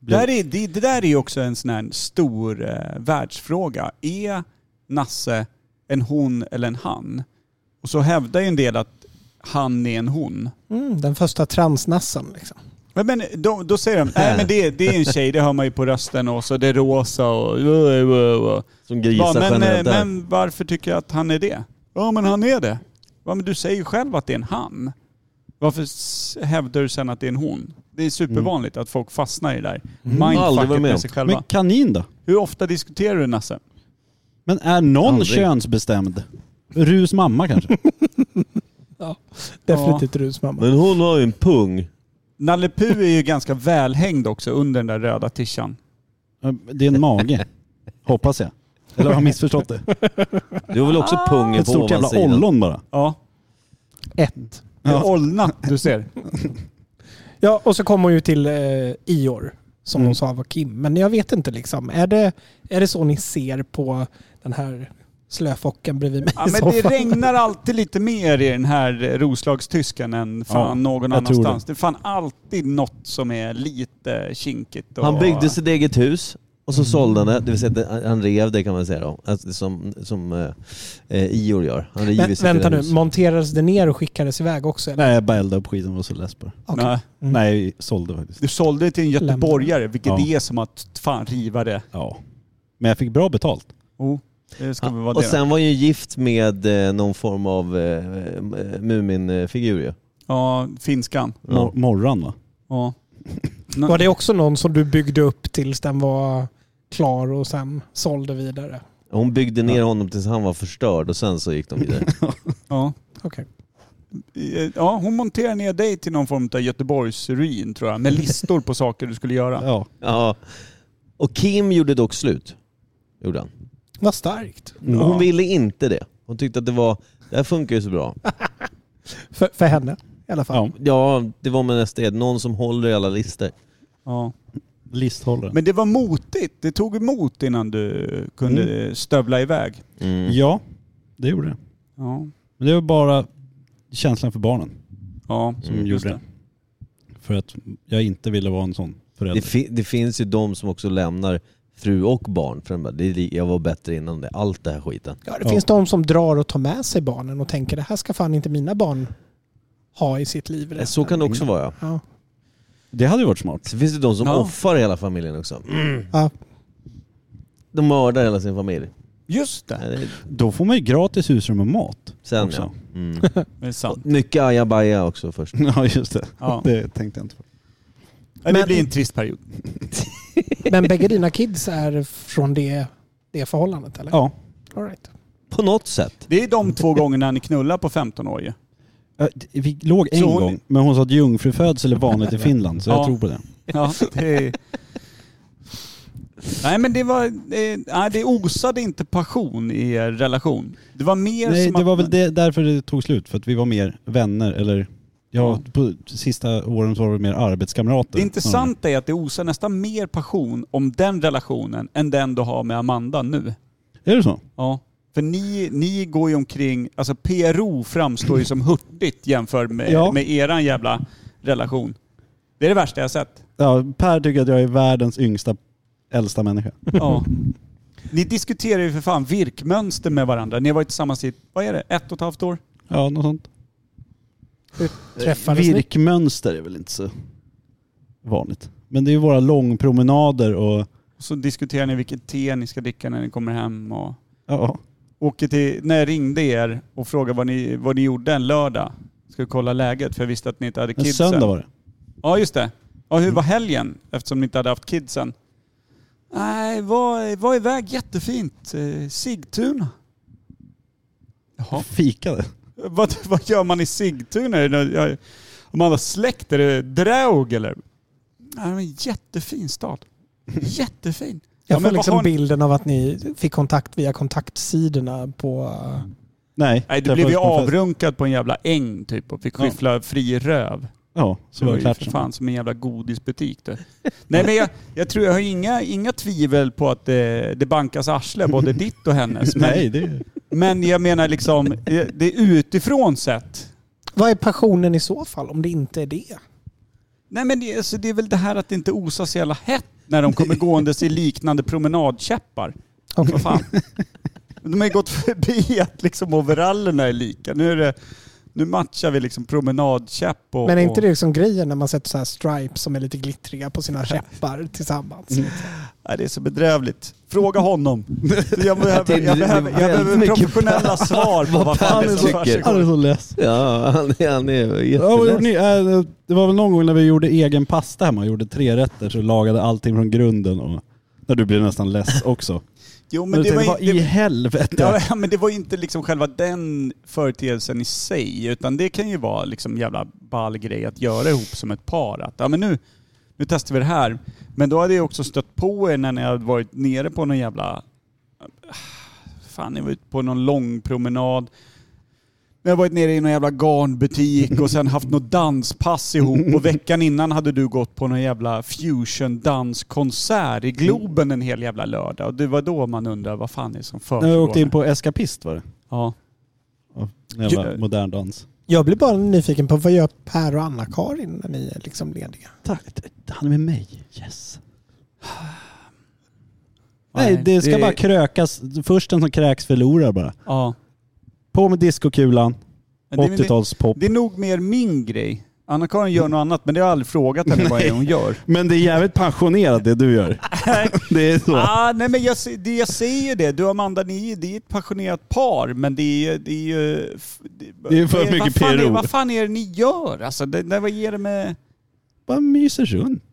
A: Det, där är, det, det där är ju också en sån här stor eh, världsfråga. Är Nasse en hon eller en han? Och så hävdar ju en del att han är en hon.
D: Mm, den första transnassen liksom.
A: Men, men då, då säger de, nej men det, det är en tjej, det hör man ju på rösten och så det är rosa eh, och...
E: Som
A: Ja,
E: grisar
A: men, eh,
E: generellt där.
A: men varför tycker jag att han är det? Ja men han är det. Ja men du säger ju själv att det är en han. Varför s- hävdar du sen att det är en hon? Det är supervanligt att folk fastnar i det där.
E: Mm. Aldrig
A: Mindfucket
E: varit med
A: med
E: om.
A: sig själva.
B: Men kanin då?
A: Hur ofta diskuterar du Nasse?
B: Men är någon
E: Aldrig.
B: könsbestämd? Rus mamma kanske?
D: Definitivt Rus mamma.
E: Men hon har ju en pung.
A: Nalle Puh är ju ganska välhängd också under den där röda tishan.
B: Eh, Det är en [LAUGHS] mage. Hoppas jag. Eller har jag missförstått det?
E: Du har väl också pungen
B: Ett
E: på
B: stort jävla
E: ovansidan?
B: ollon bara.
A: Ja.
D: Ett.
A: Det är Ollna du ser.
D: Ja, och så kom hon ju till eh, Ior som
B: Mm.
D: hon sa var Kim. Men jag vet inte liksom. Är det, är det så ni ser på den här slöfocken bredvid mig
A: Ja,
D: i
A: men det
B: [LAUGHS]
D: soffan?
A: regnar alltid lite mer i den här Roslagstysken än fan
B: Ja,
A: någon
B: jag tror
A: annanstans. Det. är fan alltid något som är lite kinkigt. Och...
E: Han byggde sitt eget hus och så sålde han det. Det vill säga att han rev det kan man säga då. Alltså, som som eh, eh, Ior gör. Han river
D: Men,
E: sitt
D: vänta
E: egna
D: nu,
E: hus.
D: monterades det ner och skickades iväg också? Eller?
B: Nej, jag bara eldade upp skiten och var så less på det.
D: Okej.
A: Nej,
D: Mm.
B: Nej, vi sålde faktiskt.
A: du sålde det till en
D: Lämna.
A: göteborgare, vilket
B: Ja.
A: är som att fan riva det.
B: Ja. Men jag fick bra betalt.
A: Oh, det ska väl vara
E: och
A: det.
E: sen var han ju gift med eh, någon form av eh, Mumin-figur ju.
A: Ja, finskan.
B: Mor- Morran va?
A: Ja.
B: Mm.
D: Var det också någon som du byggde upp tills den var klar och sen sålde vidare?
E: Hon byggde ner honom tills han var förstörd och sen så gick de vidare.
A: Ja.
D: Okej.
A: Eh, Ja, hon monterar ner dig till någon form av Göteborgsruin tror jag, med listor på saker du skulle göra.
B: Ja.
E: ja. Och Kim gjorde dock slut. Gjorde han.
D: Vad starkt.
E: Och
A: Ja.
E: Hon ville inte det. Hon tyckte att det var, det här funkar ju så bra.
D: För, för henne i alla fall.
B: ja.
E: Ja, det var med nästa ed. Någon som håller i alla listor.
A: Ja.
B: Listhållare.
A: Men det var motigt. Det tog emot innan du kunde eh, stövla iväg.
E: Mm.
B: Ja, det gjorde det.
A: Ja,
B: Men det var bara känslan för barnen
A: ja
B: som
E: Mm,
A: just
B: gjorde det. För att jag inte ville vara en sån
E: Det,
B: förälder.
E: fi- det finns ju de som också lämnar fru och barn för de bara, det är li- jag var bättre innan det. Allt det här skiten.
D: Ja, det
B: Ja.
D: finns de som drar och tar med sig barnen och tänker det här ska fan inte mina barn ha i sitt liv.
B: Eh,
D: resten."
E: Eh, Så kan det också vara ja.
D: Ja.
B: Det hade ju varit smart.
E: Sen finns det de som
A: Ja.
E: offar hela familjen också.
D: Ja.
E: De mördar hela sin familj.
A: Just det.
E: Nej, det är-
B: Då får man ju gratis husrum och mat.
E: Sen
B: Också. Mm.
E: ja. Mm.
A: Det är sant.
E: Mycket ajabaja också först.
B: [LAUGHS] Ja just det.
A: Ja.
B: Det tänkte jag inte på.
A: Ja, det blir en trist period.
D: Men bägge dina kids är från det det förhållandet eller?
I: Ja.
D: All right.
E: På något sätt.
A: Det är de två gångerna ni knullar på 15 år ju.
B: Ja, d- Vi låg en
A: Så hon-
B: gång, men hon sa att jungfrufödsel är vanligt i Finland, så
A: Ja.
B: jag tror på det.
A: Ja, det är... Nej men det var, det, nej, det osade inte passion i er relation. Det var mer
B: Nej,
A: som
B: det
A: att-
B: var väl det, därför det tog slut, för att vi var mer vänner, eller ja, på sista åren så var vi mer arbetskamrater.
A: Det intressanta är att det osar nästan mer passion om den relationen än den du har med Amanda nu.
B: Ja. Är det så?
A: Ja. För ni, ni går ju omkring, alltså PRO framstår ju som hurtigt jämfört med,
B: Ja.
A: med eran jävla relation. Det är det värsta jag sett.
B: Ja, Per tycker att jag är världens yngsta, äldsta människa.
A: Ja. Ni diskuterar ju för fan virkmönster med varandra. Ni har varit tillsammans i, vad är det, ett och ett halvt år?
B: Ja, något sånt.
D: Eh, Träffades ni?
B: Virkmönster är väl inte så vanligt. Men det är ju våra långpromenader och
A: Och så diskuterar ni vilket te ni ska dricka när ni kommer hem och
B: ja,
A: åker till, när jag ringde er och frågade vad ni, vad ni gjorde en lördag, ska vi kolla läget för jag visste att ni inte hade
B: en
A: kidsen.
B: söndag var det.
A: Ja, just det. Ja,
D: Mm.
A: hur var helgen? Eftersom ni inte hade haft kidsen. Nej, var, var iväg jättefint. Eh, Sigtuna. Jaha.
B: Fikade.
A: Vad, [LAUGHS] vad gör man i Sigtuna? Är det nå- ja, Om man har släkt, är det Draug eller? Nej, det är en jättefin
D: [LAUGHS]
A: stad. Jättefin. Ja,
D: Jag
A: men
D: får
A: vad
D: liksom
A: har ni-
D: bilden av att ni fick kontakt via kontaktsidorna på...
B: Nej,
A: Nej, du
B: träffades
A: blev ju
B: på en fest.
A: avrunkad på en jävla äng typ och fick
B: Ja.
A: skyffla fri röv.
B: Ja,
A: Så
B: så
A: det
B: var
A: var
B: det
A: ju
B: klart.
A: för
B: sen.
A: fan som en jävla godisbutik du. Nej men jag, jag tror jag har inga, inga tvivel på att det, det bankas arsle både ditt och hennes. Men,
B: Nej, det är...
A: men jag menar liksom, det det är utifrån sett.
D: Vad är passionen i så fall om det inte är det?
A: Nej men det, alltså, det är väl det här att det inte osar så jävla hett när de kommer gåendes i liknande promenadkäppar.
D: Okej.
A: Vad fan. De har ju gått förbi att liksom overallerna är lika. Nu, är det, nu matchar vi liksom promenadkäpp och...
D: Men är inte
A: och-
D: det liksom grejen när man sätter så här stripes som är lite glittriga på sina käppar tillsammans?
A: Mm. Nej, det är så bedrövligt. Fråga [LAUGHS] honom. Jag
E: Det
A: behöver,
E: är-
A: jag behöver, jag behöver
E: mycket-
A: professionella svar på vad fan det är som
E: tycker.
B: Han är
A: försiggår.
B: så less.
E: Ja, han är, han är
B: Ja, vad gjorde
E: jätteledsen.
B: ni? Äh, Det var väl någon gång när vi gjorde egen pasta hemma och gjorde tre rätter så lagade allting från grunden och när du blev
A: [LAUGHS]
B: nästan less också.
A: Jo,
B: Men
A: men
B: du
A: det var,
B: tänkte, vad
A: ju-
B: i
A: det,
B: helvete? [LAUGHS]
A: ja, men det var ju inte liksom själva den företeelsen i sig, utan det kan ju vara liksom jävla ball grej att göra ihop som ett par. Att, ja, men nu, nu testar vi det här. Men då hade jag också stött på er när ni hade varit nere på någon jävla... Fan, ni var ute på någon lång promenad. Ni har varit nere i någon jävla garnbutik och sen haft något danspass ihop. Och veckan innan hade du gått på någon jävla fusion-danskonsert i Globen en hel jävla lördag. Och det var då man undrar vad fan är det som försiggår.
B: När jag åkte in på Escapist var det.
A: Ja.
B: Ja, en jävla
A: Ja.
B: modern dans.
D: Jag blir bara nyfiken på vad gör Per och Anna-Karin när ni är liksom lediga?
B: Tack, han är med mig. Yes. Nej, det ska bara krökas. Först den som kräks förlorar bara.
A: Ja.
B: På med discokulan,
A: Men det är-
B: 80-talspop.
A: Det är nog mer min grej. Anna-Karin
B: Mm.
A: gör något annat, men det har jag aldrig frågat henne vad det är hon gör.
B: Men det är jävligt passionerat det du
A: [LAUGHS]
B: gör. [LAUGHS] det är så.
A: Ah, nej men jag, se- det, jag säger det, du och Amanda, ni, det är ett passionerat par, men det är det är ju... f-
B: Det är för
A: vad vad
B: mycket
A: fan är-
B: PRO.
A: Vad fan är det ni gör? Alltså, det, det, vad ger det med...
B: Bara myser runt.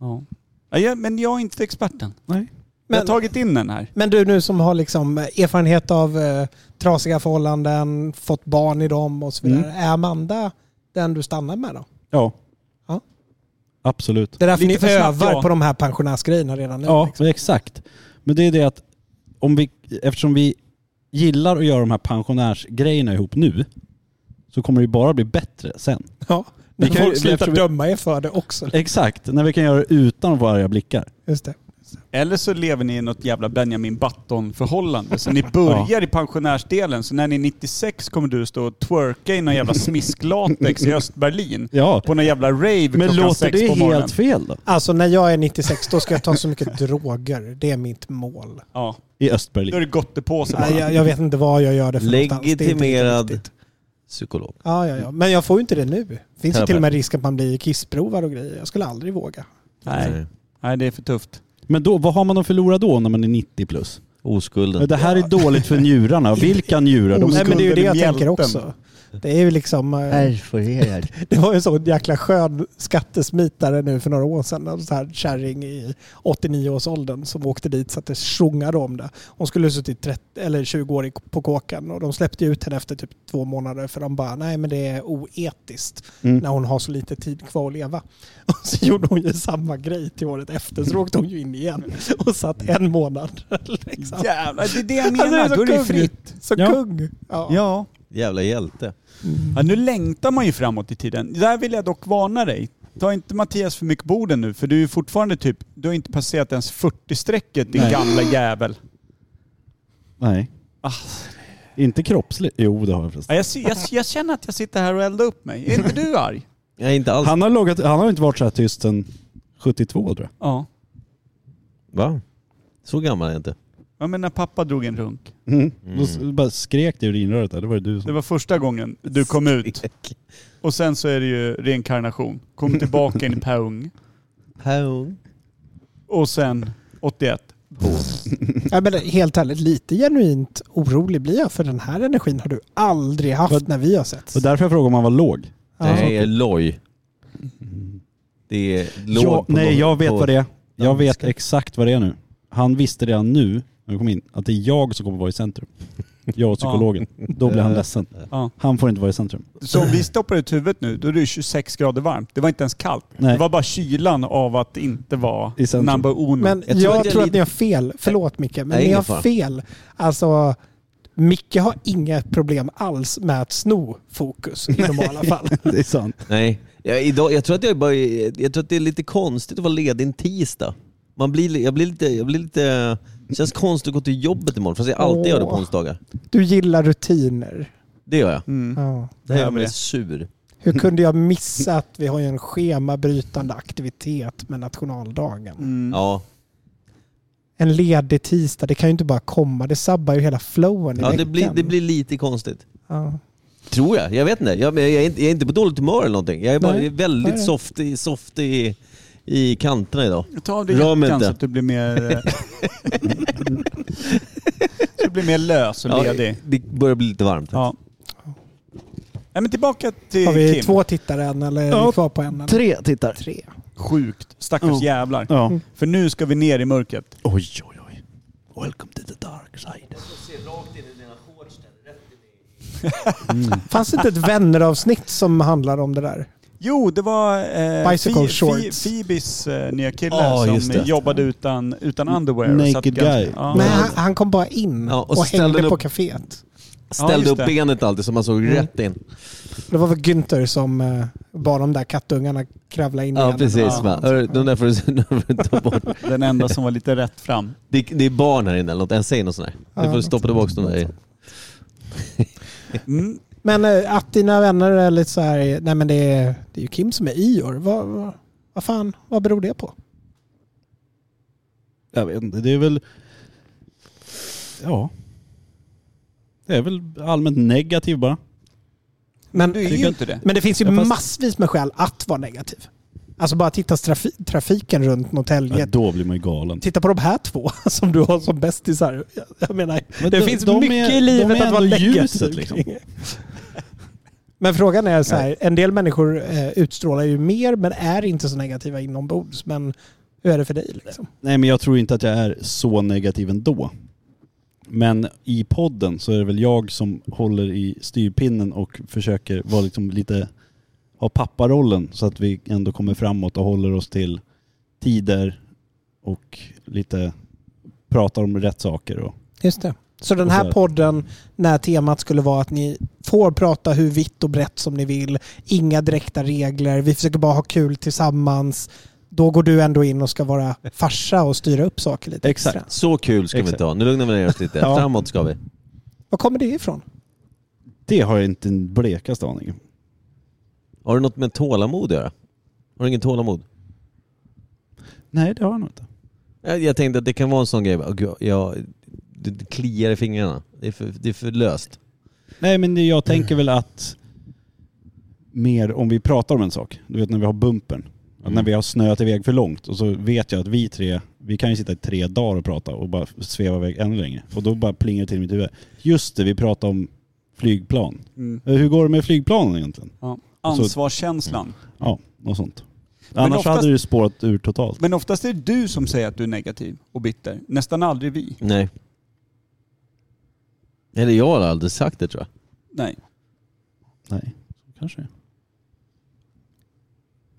A: Ja. Ja, jag- men jag är inte experten.
B: Nej.
A: Jag har
D: Men-
A: tagit in den här.
D: Men du nu som har liksom erfarenhet av eh, trasiga förhållanden, fått barn i dem och så vidare. Är Amanda den du stannar med då?
B: Ja.
D: Ja.
B: Absolut.
D: Det är därför
A: Lite för
D: ni
A: snabbt,
D: övar
A: ja.
D: på de här pensionärsgrejerna redan nu.
B: Ja,
D: liksom.
B: exakt. Men det är det att om vi, eftersom vi gillar att göra de här pensionärsgrejerna ihop nu så kommer det ju bara bli bättre sen.
D: ja.
B: Vi
D: När
B: kan ju-
D: folk slutar
B: eftersom vi-
D: döma er för det också.
B: Exakt, när vi kan göra det utan att vara arga blickar.
D: Just det.
A: Eller så lever ni i något jävla Benjamin Button-förhållande. Så ni börjar i pensionärsdelen, så när ni är 96 kommer du stå och twerka i någon jävla smisklatex i Östberlin.
B: Ja,
A: På någon jävla rave
B: men
A: klockan
B: låter
A: sex
B: det
A: på morgonen.
B: helt fel då?
D: Alltså när jag är 96 då ska jag ta så mycket droger. Det är mitt mål.
A: Ja,
B: I
A: då
B: Östberlin.
A: är det gottepåse bara.
D: Nej, jag, jag vet inte vad jag gör det för någonstans. Det är inte riktigt
E: Legitimerad
D: viktigt.
E: psykolog.
D: Ja, ja, ja. Men jag får ju inte det nu. Finns ju
E: Terapeut.
D: till och med risk att man blir kissprovad och grejer. Jag skulle aldrig våga.
A: Nej. Nej, det är för tufft.
B: Men då, vad har man att förlora då när man är 90 plus?
E: Oskulden.
B: Men det här är dåligt för njurarna. Vilka njurar? De
D: Nej, men det är ju det jag
A: mjälten.
D: tänker också. Det är ju liksom... eh,
E: Perforerad.
D: Det var ju så en jäkla skön skattesmitare nu för några år sedan. En sån här kärring i 89-årsåldern som åkte dit så att det sjungade om det. Hon skulle ha suttit 30, eller 20 år i- på kåken och de släppte ut henne efter typ två månader för de bara nej men det är oetiskt
B: Mm.
D: när hon har så lite tid kvar att leva. [LAUGHS] Och så gjorde hon ju samma grej till året efter så åkte hon ju in igen och satt en månad. [LAUGHS] Liksom.
A: Jävlar, det är det jag
D: Alltså,
A: menar. Då är det ju fritt.
D: Så
B: Ja.
D: kung. Ja.
A: Ja.
E: Jävla hjälte.
A: ja, nu längtar man ju framåt i tiden. Där vill jag dock varna dig. Ta inte Mattias för mycket på orden nu, för du är ju fortfarande typ, du har inte passerat ens 40-strecket din
B: Nej.
A: gamla jävel.
B: Nej.
A: Ah.
B: Inte kroppsligt. Jo, det har jag
A: Ja,
B: förresten.
A: jag, ser- jag, jag känner att jag sitter här och eldar upp mig. Är inte du arg?
E: Jag är inte alls...
B: Han har, loggat, han har inte varit så här tyst sedan 72 tror jag.
A: Ja.
E: Va? Så gammal är jag inte.
A: Ja men när pappa drog en runk.
B: Mm. Då s- bara skrek det ur urinröret där. Det var det du
A: Det
B: som...
A: var första gången du kom ut. Och sen så är det ju reinkarnation. Kom tillbaka in i Paung.
E: Pung.
A: Och sen 81.
D: Ja, men helt ärligt, lite genuint orolig blir jag för den här energin har du aldrig haft
B: Vad-
D: när vi har sett.
B: Det var därför jag frågade om han var låg.
E: Nej, är loj. Det är låg
B: Ja,
E: på
B: nej,
E: låg-
B: jag vet
E: på-
B: vad det är. Jag vet
E: danska.
B: exakt vad det är nu. Han visste redan nu, när vi kom in, att det är jag som kommer vara i centrum. Jag och [LAUGHS] psykologen. Då blir han [LAUGHS] ledsen.
A: Ja.
B: Han får inte vara i centrum.
A: Så om vi stoppar ut huvudet nu, då är det 26 grader varmt. Det var inte ens kallt.
B: Nej.
A: Det var bara kylan av att inte vara
B: I centrum.
A: number uno.
D: Men jag,
E: Jag tror att
D: tror
E: jag
D: att ni har fel. Förlåt Micke, men
E: Nej,
D: ni
E: ingen
D: har
E: fara.
D: fel. Alltså, Micke har inga problem alls med att sno fokus i
E: [LAUGHS]
D: normala fall.
B: [LAUGHS] Det är sant.
E: Nej, jag, idag, jag, tror att jag, är bara, jag tror att det är lite konstigt att vara ledig en tisdag. Man blir, li- jag blir lite, jag blir lite, det känns konstigt att gå till jobbet imorgon fast jag alltid gör det på
D: Åh.
E: onsdagar.
D: Du gillar rutiner.
E: Det gör jag.
A: Mm.
D: Ja.
E: Det här
A: jag
E: gör mig
A: med.
E: sur.
D: Hur kunde jag missa att vi har ju en schemabrytande aktivitet med nationaldagen?
A: Mm.
E: Ja,
D: En ledig tisdag, det kan ju inte bara komma. Det sabbar ju hela flowen i
E: ja det,
D: veckan.
E: blir, det blir lite konstigt.
D: Ja.
E: Tror jag, jag vet inte. Jag, men jag, är, inte jag är inte på dåligt humör eller någonting. Jag är bara
D: Nej.
E: väldigt
D: Nej.
E: soft, i, soft i, i kanterna idag.
A: Ta av dig
E: Rör mig
A: jackan så
E: inte.
A: att du blir mer... eh, så du blir mer lös och
E: Ja,
A: ledig.
E: det börjar bli lite varmt.
A: Ja. Nej, men tillbaka till
D: Har vi
A: Kim.
D: två tittare än eller är vi
B: Ja.
D: kvar på en? Eller?
B: Tre tittar.
D: Tre.
A: Sjukt. Stackars
B: Ja.
A: jävlar.
B: Ja.
A: För nu ska vi ner i mörkret.
B: Oj, oj, oj. Welcome to the dark side.
D: Fanns det inte ett vänneravsnitt som handlar om det där?
A: Jo, det var eh,
D: Bicycle
A: Fi- Fi-
D: shorts.
A: Phoebes eh, nya kille
E: Ja, just
A: som
E: det.
A: jobbade utan, utan underwear.
B: Naked
A: satt ganska-
B: guy.
A: Ja.
D: Men han, han kom bara in
E: Ja,
D: och,
E: och ställde
D: hängde på
E: upp-
D: kaféet.
E: Ställde
A: just
E: upp
A: det.
E: benet alltid så man såg rätt in.
D: Det var väl Günther som eh, bad de där kattungarna kravla in i
E: Ja
D: henne.
E: precis.
A: Ja.
E: va. Hör, De där får du- [LAUGHS] de får du ta bort.
A: Den enda som var lite rätt fram.
E: Det, det är barn här inne eller något. En säger något sånt där. Du
D: Ja,
E: får
D: något
E: stoppa tillbaka dem där i.
A: Mm.
D: Men eh, att dina vänner är lite så här, nej men det är, det är ju Kim som är Ior. Vad, vad, vad fan, vad beror det på?
B: Jag vet inte, det är väl... Ja. Det är väl allmänt negativ bara.
D: Men,
A: Du är ju inte det.
D: men det finns ju
B: Ja, fast-
D: massvis med skäl att vara negativ. Alltså bara titta strafi- trafiken runt
B: Ja,
D: Norrtälje.
B: då blir man ju galen.
D: Titta på de här två [LAUGHS] som du har som bästisar. Jag- Jag menar,
B: Men
D: det
B: de-
D: finns
B: de är-
D: mycket i
B: de
D: livet
B: är
D: att vara
B: ändå
D: negativ.
B: ljuset, liksom.
D: Men frågan är så här, en del människor eh, utstrålar ju mer men är inte så negativa inombords. Men hur är det för dig? Liksom?
B: Nej men jag tror inte att jag är så negativ ändå. Men i podden så är det väl jag som håller i styrpinnen och försöker vara liksom lite, ha papparollen så att vi ändå kommer framåt och håller oss till tider och lite pratar om rätt saker. Och,
D: Just det. Så den
B: Och så
D: här
B: här.
D: podden, när temat skulle vara att ni får prata hur vitt och brett som ni vill, inga direkta regler, vi försöker bara ha kul tillsammans. Då går du ändå in och ska vara farsa och styra upp saker lite
B: Exakt.
D: extra.
E: Så kul ska vi
B: Exakt.
E: inte ha. Nu lugnar vi ner oss lite.
B: Ja.
E: Framåt ska vi.
D: Var kommer det ifrån?
B: det har jag inte en blekaste aning om.
E: Har du något med tålamod att göra? Har du ingen tålamod?
B: Nej det har jag nog inte.
E: Jag, jag tänkte att det kan vara en sån grej. Åh, gud, Jag, det det kliar i fingrarna. Det är för, det är för löst.
B: Nej men det- jag tänker väl att mer om vi pratar om en sak. Du vet när vi har bumpern. Att
E: Mm.
B: När vi har snöat iväg för långt och så vet jag att vi tre, vi kan ju sitta i tre dagar och prata och bara sveva iväg ännu längre. Och då bara plingar det till i mitt huvud. Just det, vi pratade om flygplan.
A: Mm.
B: Eh, Hur går det med flygplanen egentligen?
A: Ansvarskänslan.
B: Ja, något sånt.
A: Men
B: Annars
A: oftast-
B: hade du spårat ur totalt.
A: Men oftast är det du som säger att du är negativ och bitter. Nästan aldrig vi.
E: Nej. Eller jag har aldrig sagt det tror jag.
A: Nej.
B: Nej, kanske.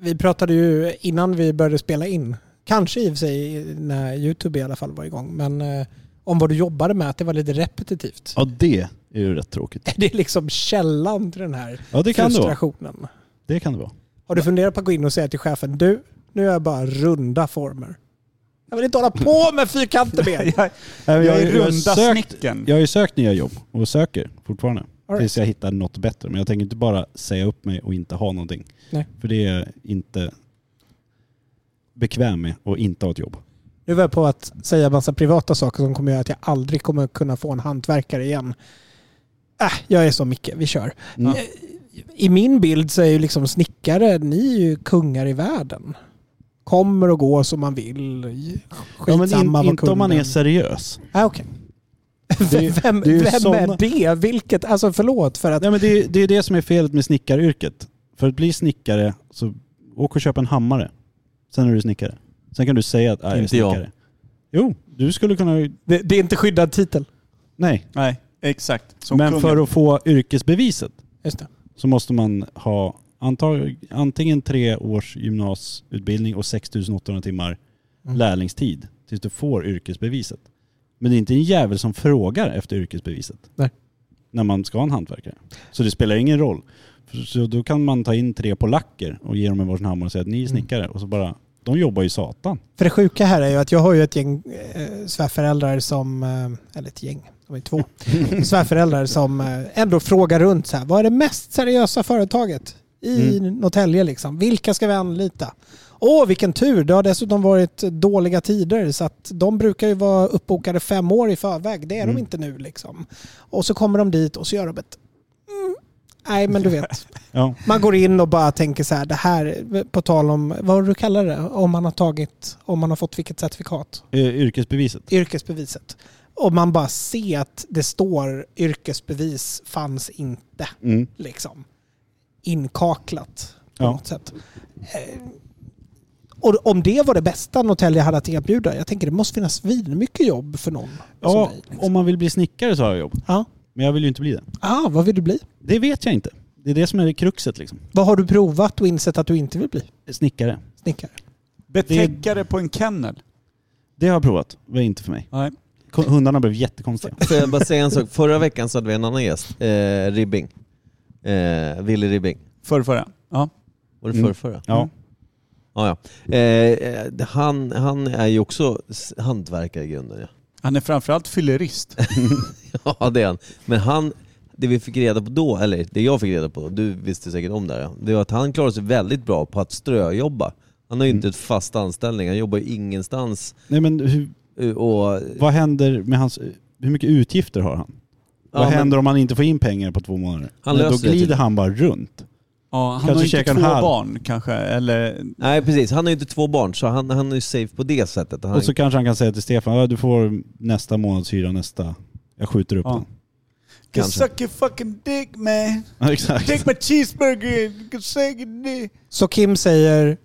D: Vi pratade ju innan vi började spela in, kanske i och för sig när YouTube i alla fall var igång, men eh, om vad du jobbade med, att det var lite repetitivt.
B: Ja, det är ju rätt tråkigt.
D: Är [LAUGHS] det liksom källan till den här
B: Ja, det kan det vara.
D: frustrationen?
B: Det kan det vara.
D: Har du funderat på att gå in och säga till chefen, du, nu är jag bara runda former. Jag vill inte hålla på med fyrkanter mer.
A: [LAUGHS] Jag,
B: Nej, men
A: jag är
B: har
A: runda
B: sökt,
A: snicken.
B: jag har ju sökt nya jobb och söker fortfarande.
D: All right.
B: Tills jag hittar något bättre. Men jag tänker inte bara säga upp mig och inte ha någonting.
D: Nej.
B: För det är jag inte bekväm med att inte ha ett jobb.
D: Nu var jag på att säga massa privata saker som kommer göra att jag aldrig kommer kunna få en hantverkare igen. Äh, jag är så Micke, vi kör.
B: Mm.
D: Eh, I min bild så är ju liksom snickare, ni är ju kungar i världen. Kommer och går som man vill. Skitsamma
B: ja, men in,
D: vad
B: inte om man är
D: kunden-
B: seriös.
D: Ah, okej.
B: Det-
D: [LAUGHS] Vem,
B: det är ju
D: vem
B: såna-
D: är det? Vilket? Alltså förlåt för att...
B: Nej, men det, är- det är det som är felet med snickaryrket. För att bli snickare, så åk och köp en hammare. Sen är du snickare. Sen kan du säga att "Nej, jag är
E: Inte jag.
B: snickare. Jo, du skulle kunna...
D: Det, det är inte skyddad titel.
B: Nej,
A: Nej, exakt. Som
B: men
A: kungen.
B: för att få yrkesbeviset
D: Just det.
B: så måste man ha antag, antingen tre års gymnasieutbildning och 6800 timmar
D: Mm.
B: lärlingstid tills du får yrkesbeviset. Men det är inte en jävel som frågar efter yrkesbeviset.
D: Nej.
B: När man ska ha en hantverkare. Så det spelar ingen roll. För- Så då kan man ta in tre polacker och ge dem en varsin hammare och säga att
D: Mm.
B: ni är snickare. Och så bara, de jobbar ju satan.
D: För det sjuka här är ju att jag har ju ett gäng eh, svärföräldrar som, eh, eller ett gäng, de är två, svärföräldrar som eh, ändå frågar runt så här, vad är det mest seriösa företaget i Norrtälje liksom? Vilka ska vi anlita? Åh, vilken tur! Det har dessutom varit dåliga tider så att de brukar ju vara uppbokade fem år i förväg. Det är de inte nu liksom. Och så kommer de dit och så gör de ett... Mm, nej, men du vet.
B: Ja.
D: Man går in och bara tänker så här, det här, på tal om, vad du kallar det, om man har tagit, om man har fått vilket certifikat?
B: Eh, Yrkesbeviset.
D: Yrkesbeviset. Och man bara ser att det står yrkesbevis fanns inte,
B: Mm.
D: liksom. Inkaklat på
B: Ja.
D: något sätt. Eh, Och om det var det bästa Norrtälje hade att erbjuda, jag tänker det måste finnas mycket jobb för någon som
B: Ja,
D: dig. Liksom.
B: om man vill bli snickare så har jag jobb.
D: Ja.
B: Men jag vill ju inte bli det.
D: Ah, vad vill du bli?
B: Det vet jag inte. Det är det som är kruxet liksom.
D: Vad har du provat och insett att du inte vill bli?
B: Snickare.
D: Snickare.
A: Betäckare på en kennel.
B: Det har jag provat. Det var inte för mig.
A: Nej.
B: Kon- Hundarna blev jättekonstiga.
E: Får jag bara säga en sak? Förra veckan så hade vi en annan gäst, eh, Ribbing. Eh, Willy Ribbing.
A: Förr, förra. Ja.
E: Var det
B: Mm.
E: förrförra?
B: Ja.
E: Ja, ja. Eh, Eh, han, han är ju också s- hantverkare i grunden. Ja.
A: Han är framförallt [LAUGHS] fyllerist.
E: Ja [LAUGHS] det är han. Men han, det vi fick reda på då, eller det jag fick reda på, du visste säkert om det här, ja. det var att han klarade sig väldigt bra på att ströjobba. Han har ju
B: Mm.
E: inte ett fast anställning, han jobbar ju ingenstans.
B: Nej men hur,
E: eh, Och,
B: vad händer med hans... Hur mycket utgifter har han?
E: Ja,
B: vad
E: men-
B: händer om han inte får in pengar på två månader?
E: Han
B: Men då
E: löser det
B: glider
E: till-
B: han bara runt.
A: Ja, han
B: Kanske
A: har ju inte
B: käka en
A: två
B: halv.
A: barn kanske. Eller,
E: Nej precis, han har ju inte två barn så han, han är ju safe på det sättet. Han,
B: Och så kanske han kan säga till Stefan, "Ja, du får nästa månadshyra nästa... Jag skjuter upp
A: Ja.
B: den.
A: Can
E: Kanske.
A: suck your fucking dick man.
B: Ja, [LAUGHS] exakt.
A: Take my cheeseburger. You can suck your dick.
D: Så Kim säger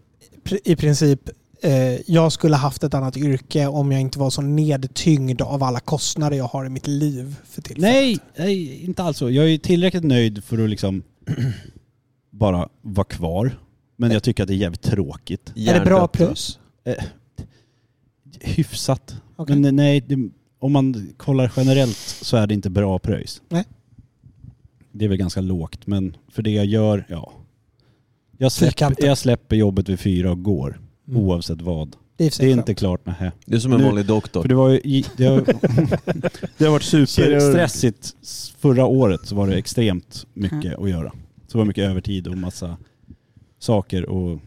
D: pr- i princip eh, jag skulle haft ett annat yrke om jag inte var så nedtyngd av alla kostnader jag har i mitt liv för tillfället.
B: Nej, nej, inte alls så. Jag är tillräckligt nöjd för att liksom [CLEARS THROAT] bara vara kvar. Men jag tycker att det är jävligt tråkigt.
D: Är det bra
E: Hjärndött, va?
D: plus?
B: Hyfsat.
D: Okej.
B: Men eh, nej, det, om man kollar generellt så är det inte bra pröjs.
D: Nej.
B: Det är väl ganska lågt, men för det jag gör, ja. Jag släpper,
D: Fyrkanten.
B: jag släpper jobbet vid fyra och går,
D: Mm.
B: oavsett vad.
D: Det är, i och
B: Det
D: för sig
B: är
D: skönt.
B: inte klart, nej.
E: Det är som en
B: Nu-
E: vanlig doktor.
B: För det, var ju, i- det, [LAUGHS] har, det har varit superstressigt. Förra året så var det extremt
D: Mm.
B: mycket att göra. Så det var mycket övertid och massa saker och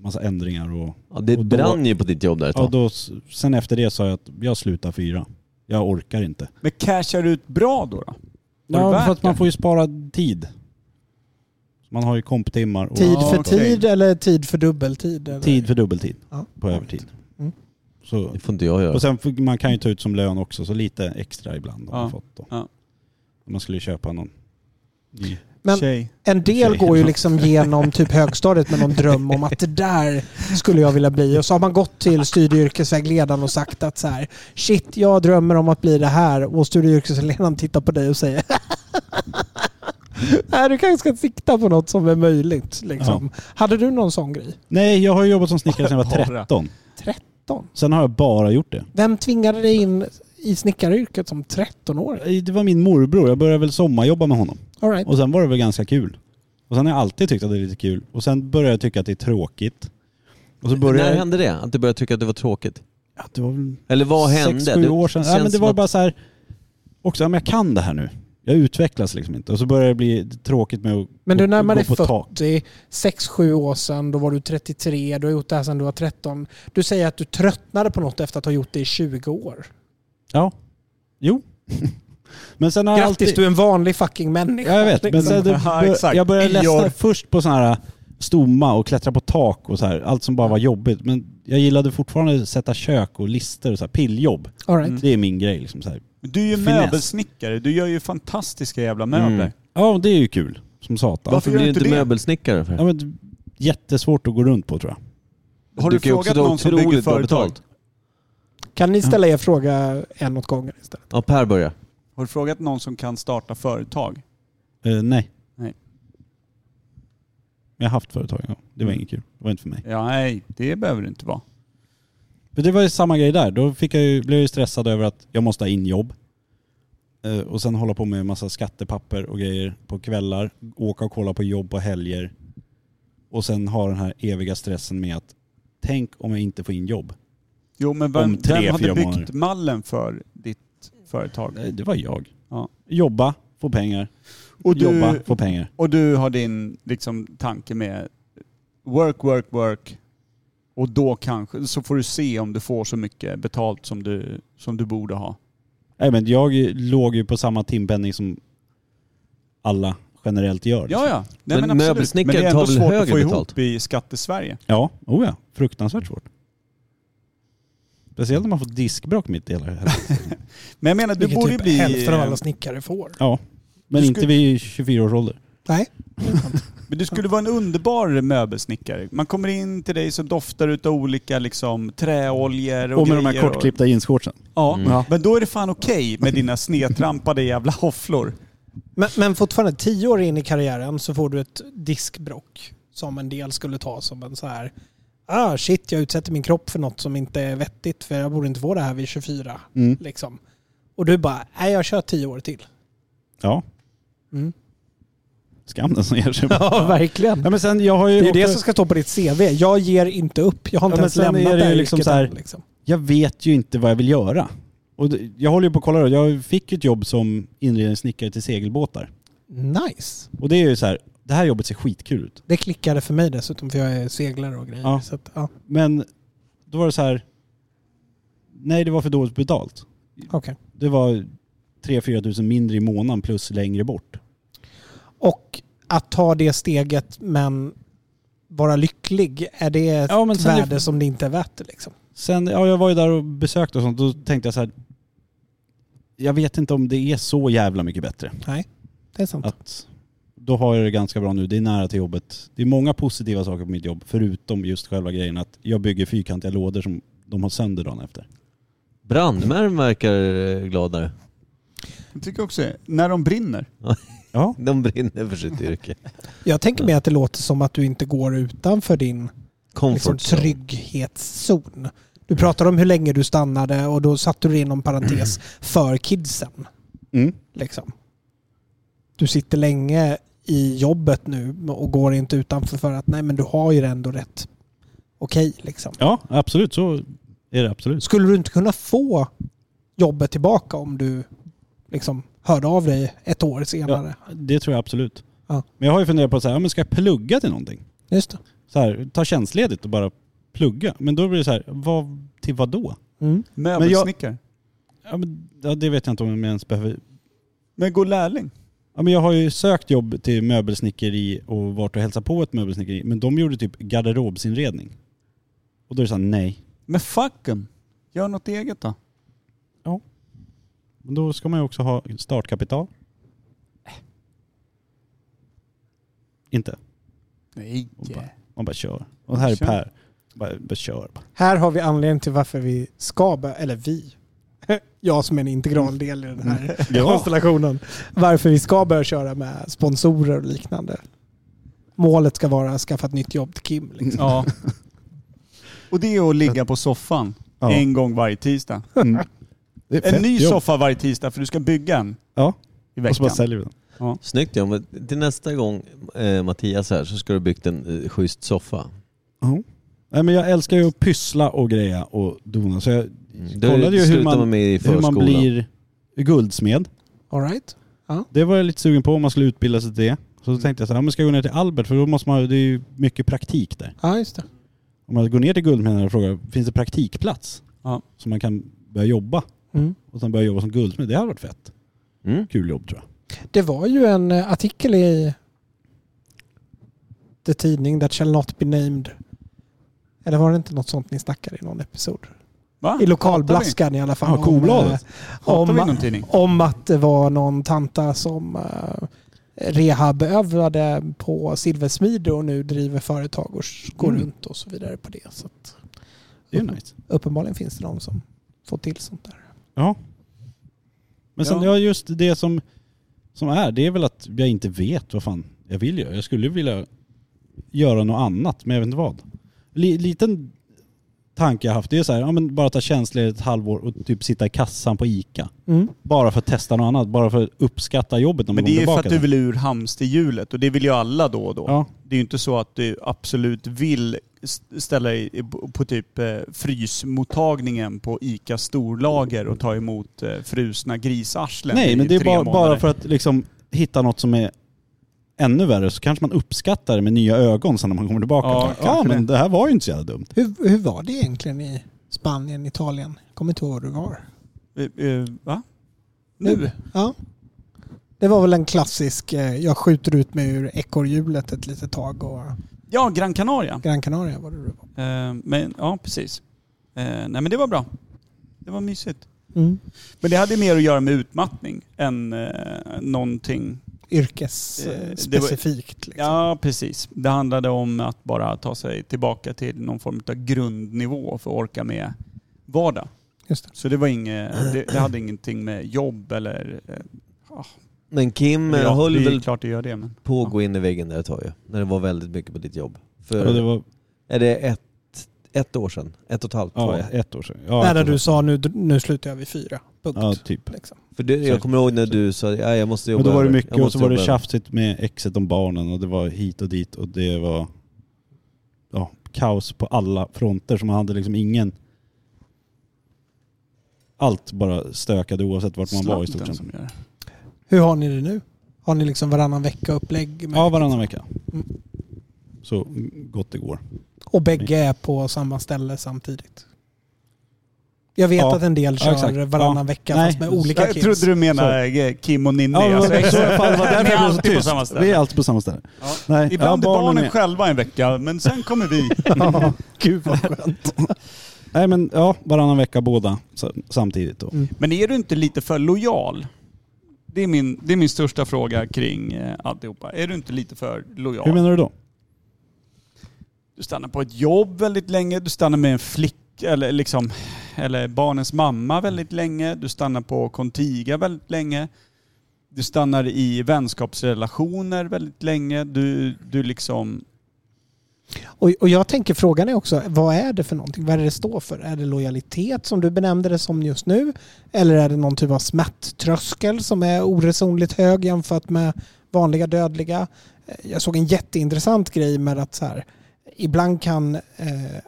B: massa ändringar och
E: Ja, det
B: och då-
E: brann ju på ditt jobb där ett
B: Ja,
E: tag.
B: då, s- sen efter det sa jag att jag slutar fyra. Jag orkar inte.
A: Men cashar du ut bra då? då? Var det
B: Ja,
A: värt
B: för att man
A: det?
B: får ju spara tid. Man har ju komptimmar och
D: Tid
A: Ja,
D: för
A: okej.
D: tid eller tid för dubbeltid? Eller?
B: tid för dubbeltid
D: Ja.
B: på övertid.
D: Mm.
B: Så,
E: Det får inte jag göra.
B: och sen får- man kan ju ta ut som lön också, så lite extra ibland har
A: Ja.
B: man fått då.
A: Ja.
B: Om man skulle köpa någon
D: Men-
A: Tjej.
D: En del går ju liksom genom typ högstadiet med någon dröm om att det där skulle jag vilja bli. Och så har man gått till studie och yrkesvägledaren och sagt att så här, shit, jag drömmer om att bli det här. Och studie och yrkesvägledaren tittar på dig och säger Nej, du kanske ska sikta på något som är möjligt. Liksom. Hade du någon sån grej?
B: Nej, jag har ju jobbat som snickare sedan jag var 13.
D: 13?
B: Sen har jag bara gjort det.
D: Vem tvingade dig in i snickaryrket som 13-åring?
B: Det var min morbror. Jag började väl sommarjobba med honom.
D: All right.
B: Och sen var det väl ganska kul. Och sen har jag alltid tyckt att det är lite kul. Och sen började jag tycka att det är tråkigt. Och så började
E: När
B: jag...
E: hände det? Att du började tycka att det var tråkigt?
B: Ja, det var väl
E: Eller vad hände?
B: sex, sju
E: Du-
B: år sedan. Ja,
E: känns
B: men det
E: som
B: var
E: att-
B: bara så här... Också, ja, men jag kan det här nu. Jag utvecklas liksom inte. Och så började det bli tråkigt med att
D: Men du
B: gå-
D: närmar
B: gå
D: dig
B: på tak.
D: 40, 6-7 år sedan, då var du 33, du har gjort det här sedan du var 13. Du säger att du tröttnade på något efter att ha gjort det i 20 år.
B: Ja. Jo. [LAUGHS] men sen har jag
D: Grattis,
B: alltid...
D: du är en vanlig fucking människa.
B: Ja, jag vet. Men sen det,
A: Ja, exakt.
B: jag började läsa
A: Ior.
B: först på sådana här äh, stomma och klättra på tak och så här. Allt som bara var jobbigt. Men jag gillade fortfarande att sätta kök och lister och så här, pilljobb.
D: All right.
B: Det är min grej liksom. Så här.
A: Du är ju
B: Finess.
A: möbelsnickare. Du gör ju fantastiska jävla möbler.
B: Mm. Ja, det är ju kul. Som satan.
A: Varför
E: Varför
A: gör
E: blir du
A: inte
E: inte
A: det?
E: möbelsnickare? För?
B: Ja, men, det- jättesvårt att gå runt på tror jag.
A: Har du,
E: kan ju också
A: frågat
E: ta
A: någon som
E: otroligt
A: bygger
E: bra
A: företag?
E: betalt.
D: Kan ni ställa er fråga en åt gången istället?
E: Ja, Per börjar.
A: Har du frågat någon som kan starta företag?
B: Eh, nej.
A: Nej.
B: Jag har haft företag en gång. Det var
A: Mm.
B: inget kul. Det var inte för mig.
A: Ja, nej, det behöver det inte vara.
B: Men det var ju samma grej där. Då fick jag ju, blev jag ju stressad över att jag måste ha in jobb. Eh, och sen hålla på med en massa skattepapper och grejer på kvällar. Åka och kolla på jobb på helger. Och sen ha den här eviga stressen med att tänk om jag inte får in jobb.
A: Jo, men vem,
B: Om tre,
A: vem hade
B: fyra
A: byggt
B: månader.
A: mallen för ditt företag?
B: Nej, Eh, Det var jag.
A: Ja.
B: Jobba, få pengar.
A: Och du-
B: Jobba, få pengar.
A: Och du har din liksom, tanke med work, work, work. Och då kanske, så får du se om du får så mycket betalt som du, som du borde ha.
B: Nej, men jag låg ju på samma timpenning som alla generellt gör.
A: Ja, ja. Nej,
E: Men
A: men, absolut.
E: möbelsnickaren
A: men det är ändå
E: tar väl
A: svårt att
E: högre
A: få ihop
E: betalt?
A: i skattesverige.
B: Ja, oh ja. Fruktansvärt svårt. Speciellt när man får diskbråck mitt i hela hela-
D: [LAUGHS]
A: Men jag menar, du
D: Vilket
A: borde ju
D: typ
A: bli...
D: hälften av
A: eh,
D: alla snickare får.
B: Ja. Men
A: Du
B: inte
A: skulle-
B: vid 24 års ålder.
D: Nej.
A: Men du skulle vara en underbar möbelsnickare. Man kommer in till dig så doftar det av olika liksom, träoljor och,
B: Och med de här
A: grejer och-
B: kortklippta jeansshortsen.
A: Ja,
E: Mm.
A: men då är det fan okej med dina snedtrampade jävla hofflor.
D: Men, men fortfarande, tio år in i karriären så får du ett diskbrock som en del skulle ta som en så här ah shit, jag utsätter min kropp för något som inte är vettigt för jag borde inte få det här vid 24.
B: Mm.
D: Liksom. Och du bara, nej jag kör tio år till.
B: Ja.
D: Mm.
B: Skam den som ger sig. ja,
D: [LAUGHS] Ja, verkligen.
B: men sen jag har ju
D: Det är ju
B: också,
D: det som ska stå på ditt CV. Jag ger inte upp. Jag har inte
B: Ja, men
D: ens
B: sen
D: lämnat
B: är det
D: det här
B: ju liksom
D: yrket
B: så här-
D: än, liksom.
B: Jag vet ju inte vad jag vill göra. Och det- jag håller ju på att kolla då. Jag fick ju ett jobb som inredningssnickare till segelbåtar.
D: Nice.
B: Och det är ju så här, det här jobbet ser skitkul ut.
D: Det klickade för mig dessutom för jag är seglare och grejer.
B: Ja.
D: Så att, ja,
B: Men då var det så här, nej det var för dåligt betalt.
D: okej.
B: Det var 3-4 tusen mindre i månaden plus längre bort.
D: Och att ta det steget men vara lycklig, är det ett
B: Ja, men sen-
D: värde som det inte är värt? Liksom?
B: Sen, ja jag var ju där och besökte och sånt, då tänkte jag så här. Jag vet inte om det är så jävla mycket bättre.
D: Det är sant.
B: Att då har jag det ganska bra nu, det är nära till jobbet. Det är många positiva saker på mitt jobb, förutom just själva grejen att jag bygger fyrkantiga lådor som de har sönder dagen efter.
E: Brandmän verkar eh, gladare.
A: Jag tycker också när de brinner.
B: Ja.
E: De brinner för
B: [LAUGHS]
E: sitt yrke.
B: Liksom
D: Jag tänker mig att det låter som att du inte går utanför din liksom,
E: Comfort zone.
D: trygghetszon. Du pratar om hur länge du stannade och då satte du inom
E: [CLEARS THROAT]
D: parentes för kidsen.
B: Mm.
D: Liksom. Du sitter länge i jobbet nu och går inte utanför för att nej men du har ju det ändå rätt okej. liksom.
B: Ja, absolut. Så är det absolut.
D: Skulle du inte kunna få jobbet tillbaka om du liksom hörde av dig ett år senare?
B: Det tror jag absolut.
D: Ja.
B: Men jag har ju funderat på så här, ja, men ska jag plugga till någonting?
D: Just det.
B: Så här, ta tjänstledigt och bara plugga. Men då blir det så här, vad, till vad då?
D: Mm.
A: Möbelsnickare. Men,
B: Ja, men, ja, det vet jag inte om jag ens behöver.
A: gå lärling.
B: Ja, men jag har ju sökt jobb till möbelsnickeri och varit och hälsat på ett möbelsnickeri. Men de gjorde typ garderobsinredning. Och då är det såhär, nej.
A: Men fuck 'em. Gör något eget då.
B: Men då ska man ju också ha startkapital. Inte?
A: Nej.
B: Och bara, man bara kör. Och här är
A: Kör.
B: Per. Bara, bara kör. bara.
D: Här har vi anledningen till varför vi ska börja, eller vi, [LAUGHS] jag som är en integral del i den här konstellationen, varför vi ska börja köra med sponsorer och liknande. Målet ska vara att skaffa ett nytt jobb till Kim. Liksom.
A: Ja. Och det är att ligga på soffan
B: Ja.
A: en gång varje tisdag.
B: Mm. Det är
A: En
B: fett
A: ny
B: jobb.
A: soffa varje tisdag för du ska bygga en
B: Ja.
A: i
B: Och så bara
A: veckan.
B: säljer vi den.
E: Snyggt ja, men till nästa gång eh, Mattias här så ska du ha byggt en eh, schysst soffa.
B: Nej, men jag älskar ju att pyssla och greja och dona. Så jag
E: Mm.
B: kollade ju hur
E: slutar
B: man-
E: man med i
B: hur
E: förskolan.
B: man blir guldsmed.
D: All right.
B: Det var jag lite sugen på om man skulle utbilda sig till det. Så
E: Mm.
B: då tänkte jag så här, ja, men ska jag gå ner till Albert för då måste man, det är ju mycket praktik där.
D: Ja, just det.
B: Om man går ner till Guldmännen och frågar, finns det praktikplats?
A: Ja.
B: Så man kan börja jobba
D: Mm.
B: och sen börja jobba som guldsmed. Det hade varit fett.
E: Mm.
B: Kul jobb tror jag.
D: Det var ju en eh, artikel i The Tidning That Shall Not Be Named. Eller var det inte något sånt ni snackade i någon episod?
A: Va?
D: I lokalblaskan i alla fall.
B: Ja, Kobladet.
D: eh,
A: Hatar vi
D: Om,
A: någon tidning?
D: om att det var någon tanta som eh, rehabövade på silversmide och nu driver företag och s- går
B: Mm.
D: runt och så vidare på det. Så att,
B: Det är ju nice.
D: uppenbarligen finns det någon som får till sånt där.
B: Ja. Men sen,
A: Ja.
B: ja. just det som, som är, det är väl att jag inte vet vad fan jag vill göra. Jag skulle vilja göra något annat, men jag vet inte vad. Li, liten tanke jag haft, det är så här, ja men bara ta tjänstledigt ett halvår och typ sitta i kassan på ICA.
D: Mm.
B: Bara för att testa något annat, bara för att uppskatta jobbet när
A: Men
B: man
A: det
B: kommer
A: är ju för
B: tillbaka.
A: att du vill ur hamsterhjulet och det vill ju alla då och då.
B: Ja.
A: Det är ju inte så att du absolut vill st- ställa dig i- på typ eh, frysmottagningen på ICA storlager och ta emot eh, frusna grisarslen
B: Nej,
A: i
B: men det är
A: tre
B: bara, bara
A: månader.
B: för att liksom hitta något som är ännu värre så kanske man uppskattar det med nya ögon sen när man kommer tillbaka.
A: Ja,
B: Ja,
A: kanske
B: men
A: det.
B: det här var ju inte så jävla dumt.
D: Hur, hur var det egentligen i Spanien, Italien? Jag kommer inte ihåg var du var.
A: Eh, eh, Va?
B: Mm.
A: Nu?
D: Ja. Det var väl en klassisk, eh, jag skjuter ut mig ur ekorrhjulet ett litet tag och
A: Ja, Gran Canaria.
D: Gran Canaria var det du var.
A: Eh, Men, ja, precis. Eh, Nej, men det var bra. Det var mysigt.
D: Mm.
A: Men det hade mer att göra med utmattning än eh, någonting Eh, det var-
D: Yrkesspecifikt.
B: Eh,
D: Liksom.
A: Ja, precis. Det handlade om att bara ta sig tillbaka till någon form av grundnivå för att orka med vardag.
D: Just det.
A: Så det, var inget, det, det hade ingenting med jobb eller... eh,
E: Men Kim
A: eller
E: ja, höll
A: det är
E: väl
A: klart det gör det, men...
E: på att gå in i väggen där ett tag ju. När det var väldigt mycket på ditt jobb. För
B: Ja, det var
E: är det ett, ett år sedan? Ett och ett halvt?
B: ja,
E: Ja.
B: ett år sedan. Ja,
D: Där
B: ett år sedan.
D: du sa nu, nu slutar jag vid fyra. Punkt.
B: Ja, typ.
D: Liksom.
E: För det, jag kommer ihåg när du sa ja, jag måste jobba
B: Men då var det
E: över.
B: mycket
E: Jag
B: och
E: måste
B: så var det
E: jobba över."
B: tjafsigt med exet om barnen och det var hit och dit och det var ja, kaos på alla fronter så man hade liksom ingen... Allt bara stökade oavsett vart man var i stort
A: Slanten
B: sett.
A: som gör det.
D: Hur har ni det nu? Har ni liksom varannan vecka upplägg? med-
B: Ja, varannan vecka.
D: Mm.
B: Så gott det går.
D: Och bägge är på samma ställe samtidigt? Jag vet
B: Ja.
D: att en del
B: Ja,
D: kör
B: exakt.
D: varannan
B: Ja.
D: vecka
B: Nej.
D: fast med olika
A: Jag
D: kids.
A: trodde du menade eh, Kim och Ninni.
B: men
A: alltså,
B: det- så i alla fall, det var
A: Ni
B: därför
A: är
B: jag blev så
A: alltid på
B: tyst.
A: samma ställe.
B: Vi är alltid på samma ställe.
A: Ja.
B: Nej,
A: Ibland
B: ja,
A: är barnen
B: med.
A: själva en vecka, men sen kommer vi.
B: [LAUGHS]
D: Gud vad skönt.
B: Nej men ja, varannan vecka båda sa- samtidigt då.
D: Mm.
A: Men är du inte lite för lojal? Det är min, det är min största fråga kring eh, alltihopa. Är du inte lite för lojal?
B: Hur menar du då?
A: Du stannar på ett jobb väldigt länge, du stannar med en flicka eller, liksom, eller barnens mamma väldigt länge, du stannar på Contiga väldigt länge. Du stannar i vänskapsrelationer väldigt länge. Du, du liksom...
D: Och, och jag tänker frågan är också, vad är det för någonting? Vad är det det står för? Är det lojalitet som du benämnde det som just nu? Eller är det någon typ av smärttröskel som är oresonligt hög jämfört med vanliga dödliga? Eh, Jag såg en jätteintressant grej med att så här, ibland kan eh,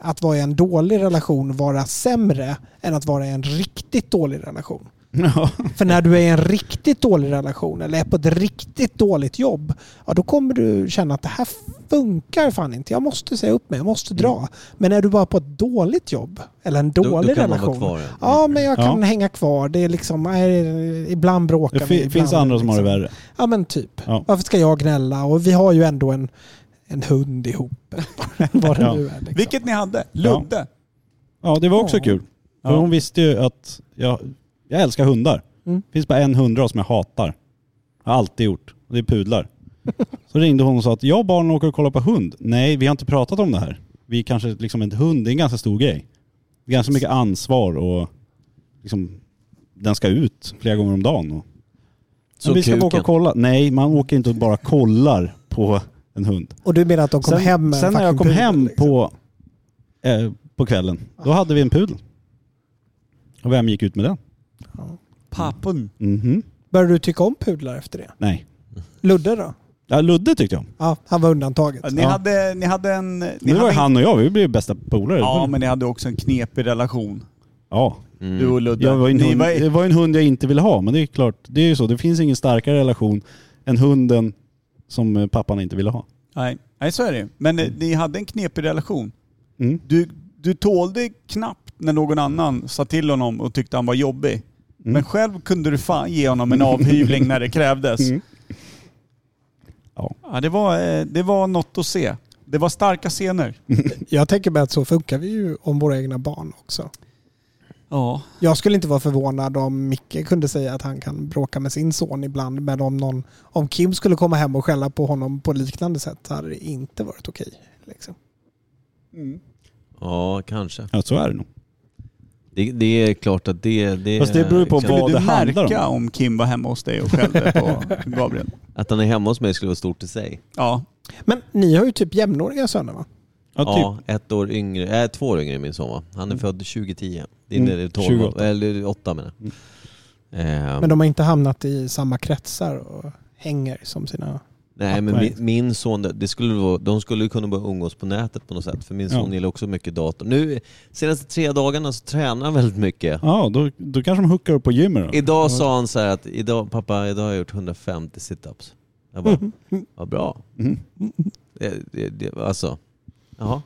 D: att vara i en dålig relation vara sämre än att vara i en riktigt dålig relation.
B: Ja.
D: För när du är i en riktigt dålig relation eller är på ett riktigt dåligt jobb, ja då kommer du känna att det här funkar fan inte. Jag måste säga upp mig, jag måste dra. Men är du bara på ett dåligt jobb eller en
E: Då- då
D: dålig
E: kan man vara
D: relation.
E: kvar, ja.
D: Ja, men jag kan
B: Ja.
D: hänga kvar. Det är liksom, nej, ibland bråkar
B: Det
D: vi.
B: fi-
D: Ibland,
B: finns andra som har det
D: liksom.
B: värre.
D: Ja, men typ.
B: Ja.
D: Varför ska jag gnälla? Och vi har ju ändå en, en hund ihop. [LAUGHS] Vad det
B: Ja.
D: nu är. Liksom.
A: Vilket ni hade. Ludde.
B: Ja det var också
D: Ja.
B: kul. För
A: Ja.
B: hon visste ju att jag, jag älskar hundar.
D: Mm. [LAUGHS]
B: Det finns bara en hundras som jag hatar. Har alltid gjort. Och det är pudlar. Så ringde hon och sa att jag och barnen åker och kollar på hund. Nej, vi har inte pratat om det här. Vi kanske, liksom en hund, det är en ganska stor grej. Det är ganska mycket ansvar och liksom, den ska ut flera gånger om dagen. Och,
E: Så
B: men vi ska
E: kuken.
B: åka och kolla. Nej, man åker inte och bara kollar på en hund.
D: Och du menar att de kom
B: sen
D: hem med en
B: sen när jag kom
D: fucking pudel,
B: hem
D: liksom?
B: på, eh, på kvällen, då hade vi en pudel. Och vem gick ut med den?
A: Papun.
B: Mhm.
D: Började du tycka om pudlar efter det?
B: Nej.
D: Ludde då?
B: Ja, Ludde tyckte jag om.
D: Ja, han var undantaget.
A: Ja, ni,
B: Ja.
A: hade, ni hade en... Ni
B: Nu
A: hade
B: var ju
A: en-
B: han och jag, vi blev ju bästa polare.
A: Ja, men ni hade också en knepig relation.
B: ja.
E: Mm.
A: Du och Ludde.
B: Jag var ju en
A: ni
B: hund, det
A: var,
B: var ju en hund jag inte ville ha, men det är ju klart, det är ju så. Det finns ingen starkare relation än hunden som eh, pappan inte ville ha.
A: nej, nej, så är det ju. Men eh, ni hade en knepig relation.
B: Mm.
A: Du, du tålde knappt när någon annan sa till honom och tyckte han var jobbig. Men själv kunde du fan ge honom en avhyvling [LAUGHS] när det krävdes.
B: Mm.
A: Ja.
B: Ja.
A: det, var, eh, det var något att se. Det var starka scener.
D: Jag tänker mig att så funkar vi ju om våra egna barn också.
A: Ja.
D: Jag skulle inte vara förvånad om Micke kunde säga att han kan bråka med sin son ibland, men om, någon, om Kim skulle komma hem och skälla på honom på liknande sätt hade det inte varit okej. Liksom.
A: Mm.
E: Ja, kanske.
B: Ja, så är det nog.
E: Det, det är klart att det... det
B: Fast det beror ju på
E: liksom,
B: vad
A: Skulle
B: det
A: du
B: handlar om.
A: märka om Kim var hemma hos dig och skällde på [LAUGHS] Gabriel?
E: Att han är hemma hos mig skulle vara stort i sig.
A: Ja.
D: Men ni har ju typ jämnåriga söner va?
B: Ja, typ.
E: Ja, ett år yngre, äh, två år yngre än min son va? Han är född 2010. Din
B: Mm,
E: är 12,
B: 28.
E: eller 8 menar jag. Ehm,
D: Men de har inte hamnat i samma kretsar och hänger som sina...
E: nej men
B: Nej.
E: min, min son, det- det skulle vara, de skulle ju kunna börja umgås på nätet på något sätt. För min son
B: Ja.
E: gillar också mycket dator. Nu, senaste tre dagarna så tränar han väldigt mycket.
B: Ja, då, då kanske de hookar upp på gymmet då.
E: Idag sa han så här att, idag, pappa idag har jag gjort 150 situps. Jag bara,
D: Mm-hmm.
E: vad bra.
B: Mhm.
E: Det, det, det, alltså, jaha.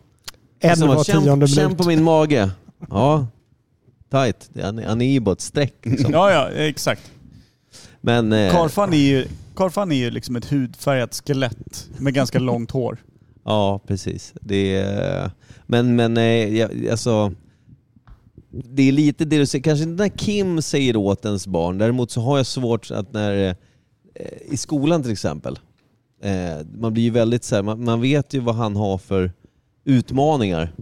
D: En
E: Alltså,
D: var
E: känn,
D: tionde
E: känn
D: minut.
E: på min mage. Ja, tight. Han, är- han är ju bara ett streck. Liksom.
A: ja, ja, exakt.
E: Men, eh,
A: Karfan är ju, Karfan är ju liksom ett hudfärgat skelett med ganska långt hår.
E: Ja, precis. Det är, men men eh, jag, alltså, det är lite det du säger. Kanske inte när Kim säger åt ens barn. Däremot så har jag svårt att när, eh, i skolan till exempel, eh, man blir ju väldigt så här, man, man vet ju vad han har för utmaningar.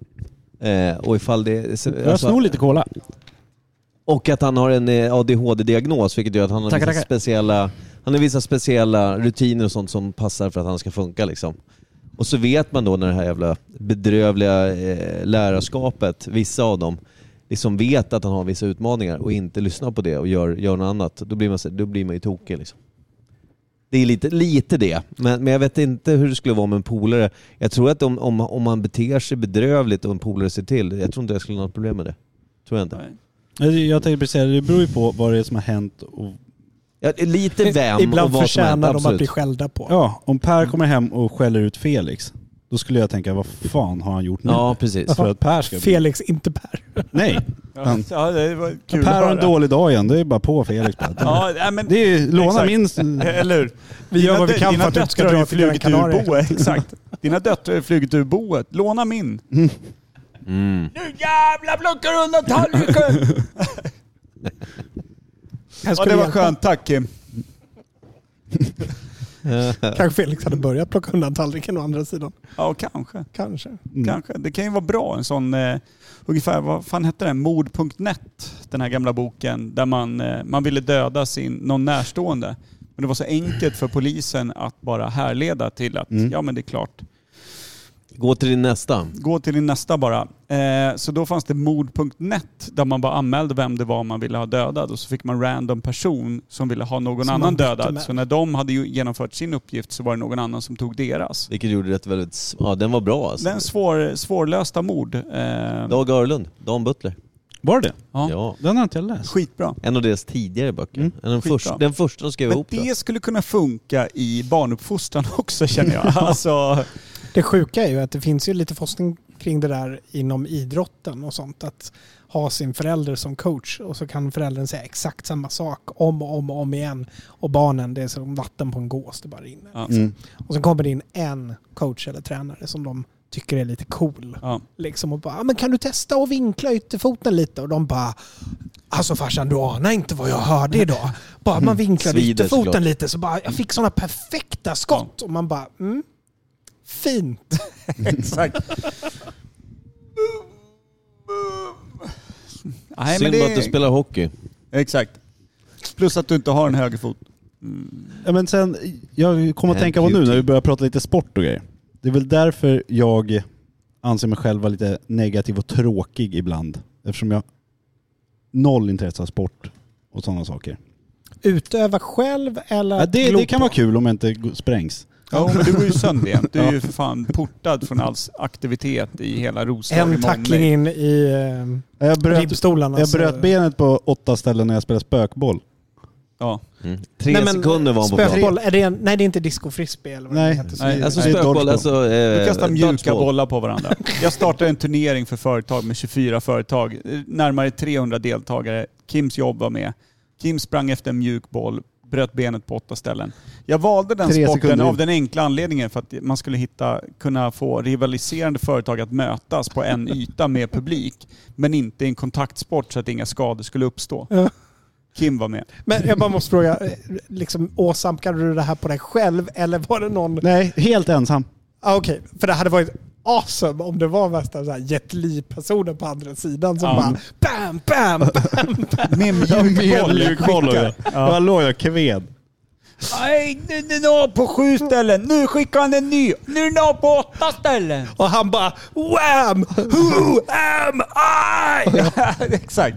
E: Eh, och ifall det... så-
A: Alltså-
E: alltså-
B: Jag snor lite cola.
E: Och att han har en eh, ADHD-diagnos vilket gör att han har,
B: Tackar,
E: vissa
B: tackar.
E: speciella, han har vissa speciella rutiner och sånt som passar för att han ska funka. Liksom. Och så vet man då när det här jävla bedrövliga eh, lärarskapet, vissa av dem, liksom vet att han har vissa utmaningar och inte lyssnar på det och gör, gör något annat. Då blir man, så- då blir man ju tokig. Liksom. Det är lite, lite det, men, men jag vet inte hur det skulle vara med en polare. Jag tror att om, om, om man beter sig bedrövligt och en polare ser till, jag tror inte jag skulle ha något problem med det. Tror jag inte.
B: Jag jag tänkte precis säga, det beror ju på vad det är som har hänt och
E: Ja,
D: [LAUGHS]
E: lite vem och
D: Ibland
E: vad som hänt,
D: förtjänar de att
E: absolut.
D: bli skällda på.
B: Ja, om Per kommer hem och skäller ut Felix, då skulle jag tänka vad fan har han gjort nu?
E: Ja, precis.
B: För att Per ska...
D: Felix, inte Per.
B: Nej,
A: Ja, ja, det var kul
B: Per
A: att
B: har
A: höra.
B: en dålig dag igen. Det är bara på Felix. bara.
A: Ja, nej, men,
B: Det är ju, låna
A: Exakt.
B: min...
A: Eller hur?
D: Vi gör
A: Dina
D: vad vi
A: dö-
D: kan
A: dina
D: för att du inte ska
A: döttrar har
D: dra
A: ju
D: till Gran
A: flugit ur
D: Canaria.
A: boet. Exakt. Dina döttrar har flugit ur boet. Låna min.
E: [LAUGHS] Mm.
A: Nu jävlar plockar du undan tallriken!
D: Jag
A: ja,
D: skulle
A: det var
D: hjälpa.
A: skönt. Tack Kim.
D: Kanske Felix hade börjat plocka undan tallriken å andra sidan.
A: Ja, kanske.
D: Kanske.
A: kanske. Det kan ju vara bra en sån, eh, ungefär, vad fan hette den? Mord.net, den här gamla boken där man, eh, man ville döda sin, någon närstående. Men det var så enkelt för polisen att bara härleda till att,
B: Mm.
A: ja men det är klart,
E: Gå till din nästa.
A: gå till din nästa bara. Eh, så då fanns det mord.net där man bara anmälde vem det var man ville ha dödad och så fick man random person som ville ha någon
D: Som man
A: annan
D: bytte
A: dödad.
D: med.
A: Så när de hade ju genomfört sin uppgift så var det någon annan som tog deras.
E: Vilket gjorde det väldigt... s- Ja, den var bra alltså.
A: Den svår, svårlösta mord. Eh,
E: Dag Örlund, Dan Butler.
B: Var det det?
A: Ja.
E: Ja.
B: Den har inte jag läst.
A: skitbra.
E: En av deras tidigare böcker.
B: Mm.
E: En av Den,
A: Skitbra.
E: första, den första de skrev
A: Men
E: ihop.
A: det skulle kunna funka i barnuppfostran [LAUGHS] också känner jag. Alltså,
D: Det sjuka är ju att det finns ju lite forskning kring det där inom idrotten och sånt. Att ha sin förälder som coach och så kan föräldern säga exakt samma sak om och om och om igen. Och barnen, det är som vatten på en gås, det bara rinner.
A: ja.
B: Mm.
D: Och så kommer det in en coach eller tränare som de tycker är lite cool.
A: Ja.
D: Liksom och bara, "Ah, men kan du testa att vinkla ytterfoten lite? Och de bara, alltså farsan du anar inte vad jag hörde idag. Bara man vinklade
E: Svider
D: ytterfoten
E: såklart.
D: lite så bara, jag fick sådana perfekta skott. Och man bara, mm, fint.
A: Exakt. Nej, men
E: Synd
A: det
E: att du spelar hockey.
A: Exakt. Plus att du inte har en högerfot.
I: Ja, men sen, jag kommer att
E: And
I: tänka på nu
E: beauty.
I: när vi börjar prata lite sport och grejer. Det är väl därför jag anser mig själv vara lite negativ och tråkig ibland. Eftersom jag noll intresse av sport och sådana saker.
D: Utöva själv eller
I: Ja, det,
D: glo
I: det kan
D: på?
I: vara kul om jag inte g- sprängs.
A: Ja, men du går ju sönder igen. Du är ju för fan portad från all aktivitet i hela Roslagen.
D: En tackling in i eh,
I: Jag bröt,
D: ribbstolarna.
I: jag
D: så-
I: bröt benet på åtta ställen när jag spelade spökboll.
A: Ja.
E: Mm. Tre
D: Nej, men,
E: sekunder var han på plan.
D: Spökboll, är det en, nej det är inte discofrisbee eller vad det
I: Nej,
D: heter.
A: Nej,
I: det-
E: Alltså
I: det är
E: spökboll,
I: dodgeball.
E: alltså... Eh,
A: Du kastar mjuka
E: dodgeball.
A: bollar på varandra. Jag startade en turnering för företag med 24 företag. eh, Närmare 300 deltagare. Kims jobb var med. Kim sprang efter en mjuk boll, bröt benet på åtta ställen. Jag valde den
I: Tre
A: sporten
I: sekunder
A: av
I: in.
A: den enkla anledningen för att man skulle hitta, kunna få rivaliserande företag att mötas på en yta med publik. Men inte i en kontaktsport så att inga skador skulle uppstå.
D: Ja.
A: Kim var med.
D: Men jag bara måste fråga, eh, liksom, åsamkade du det här på dig själv eller var det någon...
I: Nej, helt ensam.
D: Ah, Okej, för det hade varit awesome om det var värsta så här Jet Li-personen på andra sidan som
A: Ja.
D: bara bam, bam, bam.
A: Med mjuk boll.
I: Mjukboll och jag. Bara låg jag kved.
A: Nej, nu är den av på sju ställen. Nu skickar han en ny. Nu är den av på åtta ställen.
D: Och han bara wham, who am I?
A: [LAUGHS] Exakt.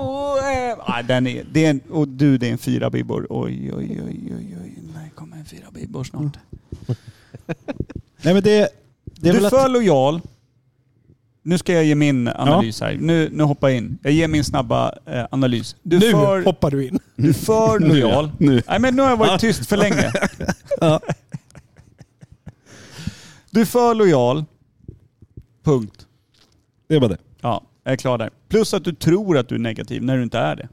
A: Oh, eh, ah, den är, det är en, och du, det är en fyra bibbor. Oj, oj, oj, oj, oj. När kommer en fyra bibbor snart?
I: Nej men det, det är
A: Du
I: väl
A: är
I: att...
A: för lojal. Nu ska jag ge min analys här. Nu, nu hoppar jag in. Jag ger min snabba eh, analys. Du är
D: Nu
A: för,
D: hoppar du in.
A: du är för lojal.
I: Nu.
A: Nej men nu har jag varit tyst för länge. Du är för lojal. Punkt.
I: Det är bara det.
A: Ja, jag är klar där. Plus att du tror att du är negativ när du inte är det.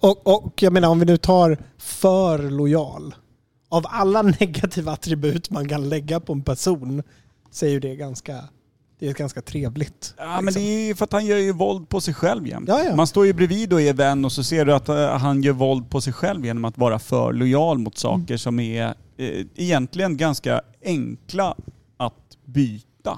D: Och, och jag menar om vi nu tar för lojal. Av alla [LAUGHS] negativa attribut man kan lägga på en person så är ju det ganska, det är ganska trevligt.
A: Ja, men det är ju för att han gör ju våld på sig själv jämt.
D: Ja, ja.
A: Man står ju bredvid och är vän och så ser du att eh, han gör våld på sig själv genom att vara för lojal mot
D: Mm.
A: saker som är eh, egentligen ganska enkla att byta. Det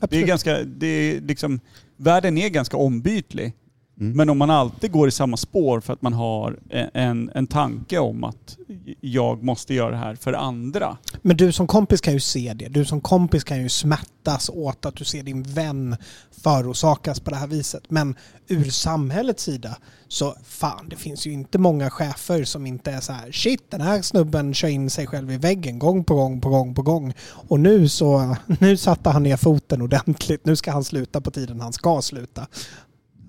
A: är
D: Absolut.
A: ganska, det är liksom, världen är ganska ombytlig.
D: Mm.
A: Men om man alltid går i samma spår för att man har eh, en, en tanke om att jag måste göra det här för andra.
D: Men du som kompis kan ju se det. Du som kompis kan ju smärtas åt att du ser din vän förorsakas på det här viset. Men ur samhällets sida så fan, det finns ju inte många chefer som inte är så här shit, den här snubben kör in sig själv i väggen gång på gång på gång på gång. Och nu så, [LAUGHS] nu satte han ner foten ordentligt. Nu ska han sluta på tiden han ska sluta.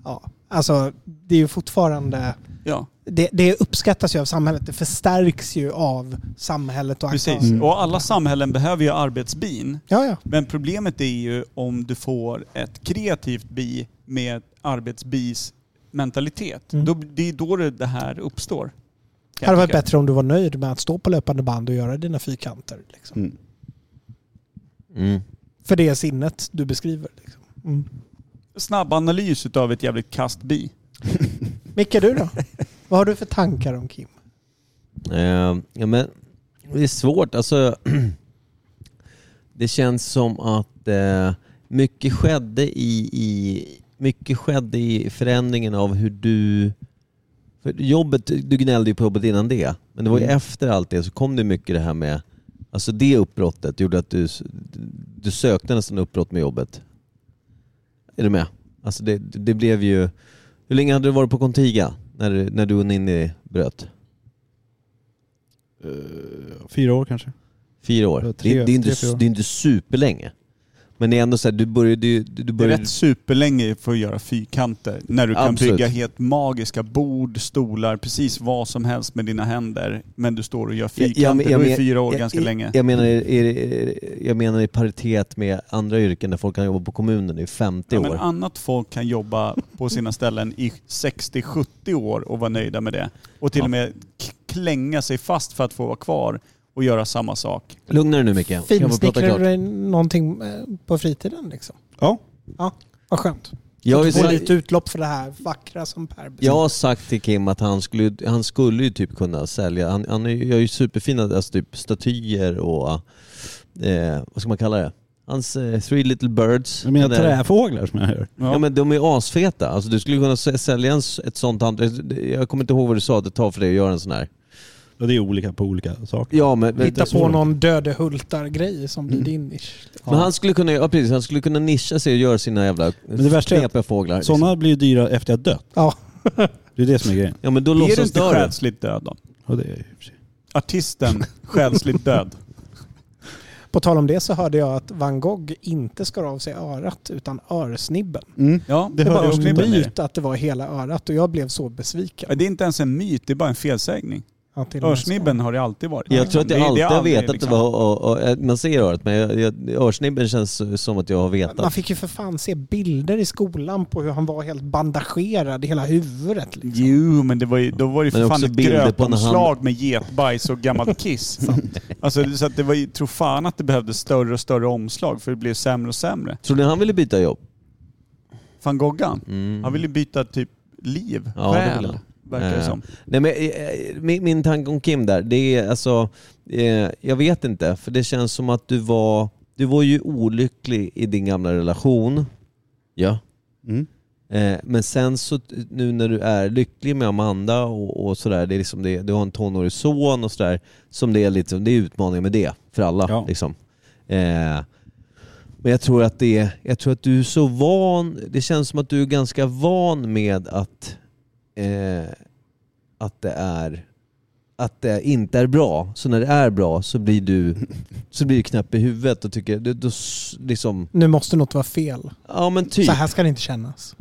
D: Ja, alltså det är ju fortfarande
A: Ja.
D: det, det uppskattas ju av samhället. Det förstärks ju av samhället och
A: Precis.
D: aktörer.
A: Och alla samhällen behöver ju arbetsbin.
D: Ja, ja.
A: Men problemet är ju om du får ett kreativt bi med arbetsbis mentalitet.
D: Mm.
A: Då, det är då det, det här uppstår. kan
D: Det
A: jag
D: hade varit
A: tycka.
D: bättre om du var nöjd med att stå på löpande band och göra dina fyrkanter. Liksom.
I: Mm.
E: Mm.
D: För det är sinnet du beskriver. Liksom. Mm.
A: Snabb analys utav ett jävligt kast bi.
D: Micke,
A: [LAUGHS]
D: du då? Vad har du för tankar om Kim?
E: Eh, ja, men det är svårt. Alltså, [CLEARS THROAT] det känns som att eh, mycket, skedde i, i, mycket skedde i förändringen av hur du... För jobbet, du gnällde ju på jobbet innan det, men det var ju efter allt det så kom det mycket det här med... Alltså det uppbrottet gjorde att du, du sökte nästan uppbrott med jobbet. Är du med? Alltså det, det blev ju... Hur länge hade du varit på Contiga när, du- när du och Ninni bröt?
I: Fyra år kanske.
E: Fyra år.
I: Ja,
E: det,
I: tre-
E: är, det, är inte,
I: tre, fyra år.
E: det är inte superlänge. Men det är ändå så här, du började ju... Du, du
A: Det är
E: började,
A: rätt superlänge för att göra fyrkanter. När du kan
E: Absolut.
A: bygga helt magiska bord, stolar, precis vad som helst med dina händer. Men du står och gör
E: Jag- jag-
A: fyrkanter.
E: jag
A: då är
E: men-
A: fyra år
E: jag-
A: ganska
E: jag-
A: länge.
E: Jag menar, i- i- jag menar i paritet med andra yrken där folk kan jobba på kommunen i 50
A: Ja,
E: år.
A: men annat folk kan jobba på sina ställen i 60-70 år och vara nöjda med det. Och till
E: Ja.
A: och med k- klänga sig fast för att få vara kvar och göra samma sak.
E: Lugna dig nu Micke. Kan vi prata
D: Finsnickrar du
E: klart?
D: dig någonting eh, på fritiden liksom?
I: Ja.
D: Ja, vad skönt.
E: Jag har, ju
D: Få lite
E: sagt,
D: utlopp för det här vackra som Per
E: jag
D: beskrev.
E: har sagt till Kim att han skulle, han skulle ju typ kunna sälja, han, han är ju- gör ju superfina alltså typ statyer och eh, vad ska man kalla det? Hans eh, Three Little Birds.
I: Jag menar
E: Den där-
I: träfåglar som jag gör.
E: Ja. men de är asfeta. Alltså du skulle kunna sä- sälja en, s- ett sånt hantverk. Jag kommer inte ihåg vad du sa att det tar för dig att göra en sån här.
I: Ja, det är olika på olika saker.
E: Ja men... men-
D: Hitta
I: så
D: på
I: mycket.
D: någon dödehultar-grej som blir
I: Mm.
D: din nisch. liksom.
E: Men han skulle kunna, ja, precis, han skulle kunna nischa sig och göra sina jävla
I: det värsta är att
E: knepiga fåglar. liksom.
I: Sådana blir ju dyra efter jag dött.
D: Ja.
I: Det är det som är grejen.
E: Ja men då
A: är du
E: låtsas
A: inte
E: dör du.
A: själsligt död då?
I: Ja, det är ju för sig.
E: [LAUGHS]
A: Artisten själsligt död.
D: På tal om det så hörde jag att van Gogh inte skar av sig örat utan örsnibben.
I: Mm.
A: Ja,
I: Det
A: det,
I: hörde
A: är bara
I: jag också.
D: en
A: örsnibben i det.
D: myt att det var hela örat och jag blev så besviken.
A: Ja, det är inte ens en myt, det är bara en felsägning.
D: Ja, till och med så.
A: Örsnibben har det alltid varit.
E: Jag tror att
A: Det-
E: jag
A: det är
E: alltid har
A: aldrig
E: vetat att
A: liksom-
E: det var, och, och, och, man ser örat men jag, jag, örsnibben känns som att jag har
D: Man
E: vetat.
D: fick ju för fan se bilder i skolan på hur han var helt bandagerad i hela huvudet. liksom.
A: Jo, men det var ju, då var det ju
E: Men
A: för fan
E: också
A: ett
E: bilder på när han-
A: grötomslag med getbajs och gammalt kiss. alltså, det- så att det var ju, tro fan att det behövdes större och större omslag för det blev sämre och sämre.
E: Tror ni han ville byta jobb?
A: Van Goghan,
E: Mm.
A: han ville ju byta typ liv,
E: Ja, det
A: själ,
E: ville han.
A: verkar det
E: Eh,
A: som.
E: Nej, men, eh, eh, min, min tanke om Kim där, det är alltså, eh, jag vet inte, för det känns som att du var, du var ju olycklig i din gamla relation. Ja.
I: Mm.
E: Eh, men sen så, t- nu när du är lycklig med Amanda och, och sådär, det är liksom det, du har en tonårig son och sådär, som det är lite, det är utmaningar med det för alla.
I: Ja.
E: Liksom. Eh, men jag tror, att det, jag tror att du är så van, det känns som att du är ganska van med att, eh, att det är att det inte är bra. Så när det är bra så blir du, så blir du knäpp i huvudet och tycker, du, du, s- liksom,
D: Nu måste något vara fel.
E: ja men typ.
D: Så här ska det inte kännas.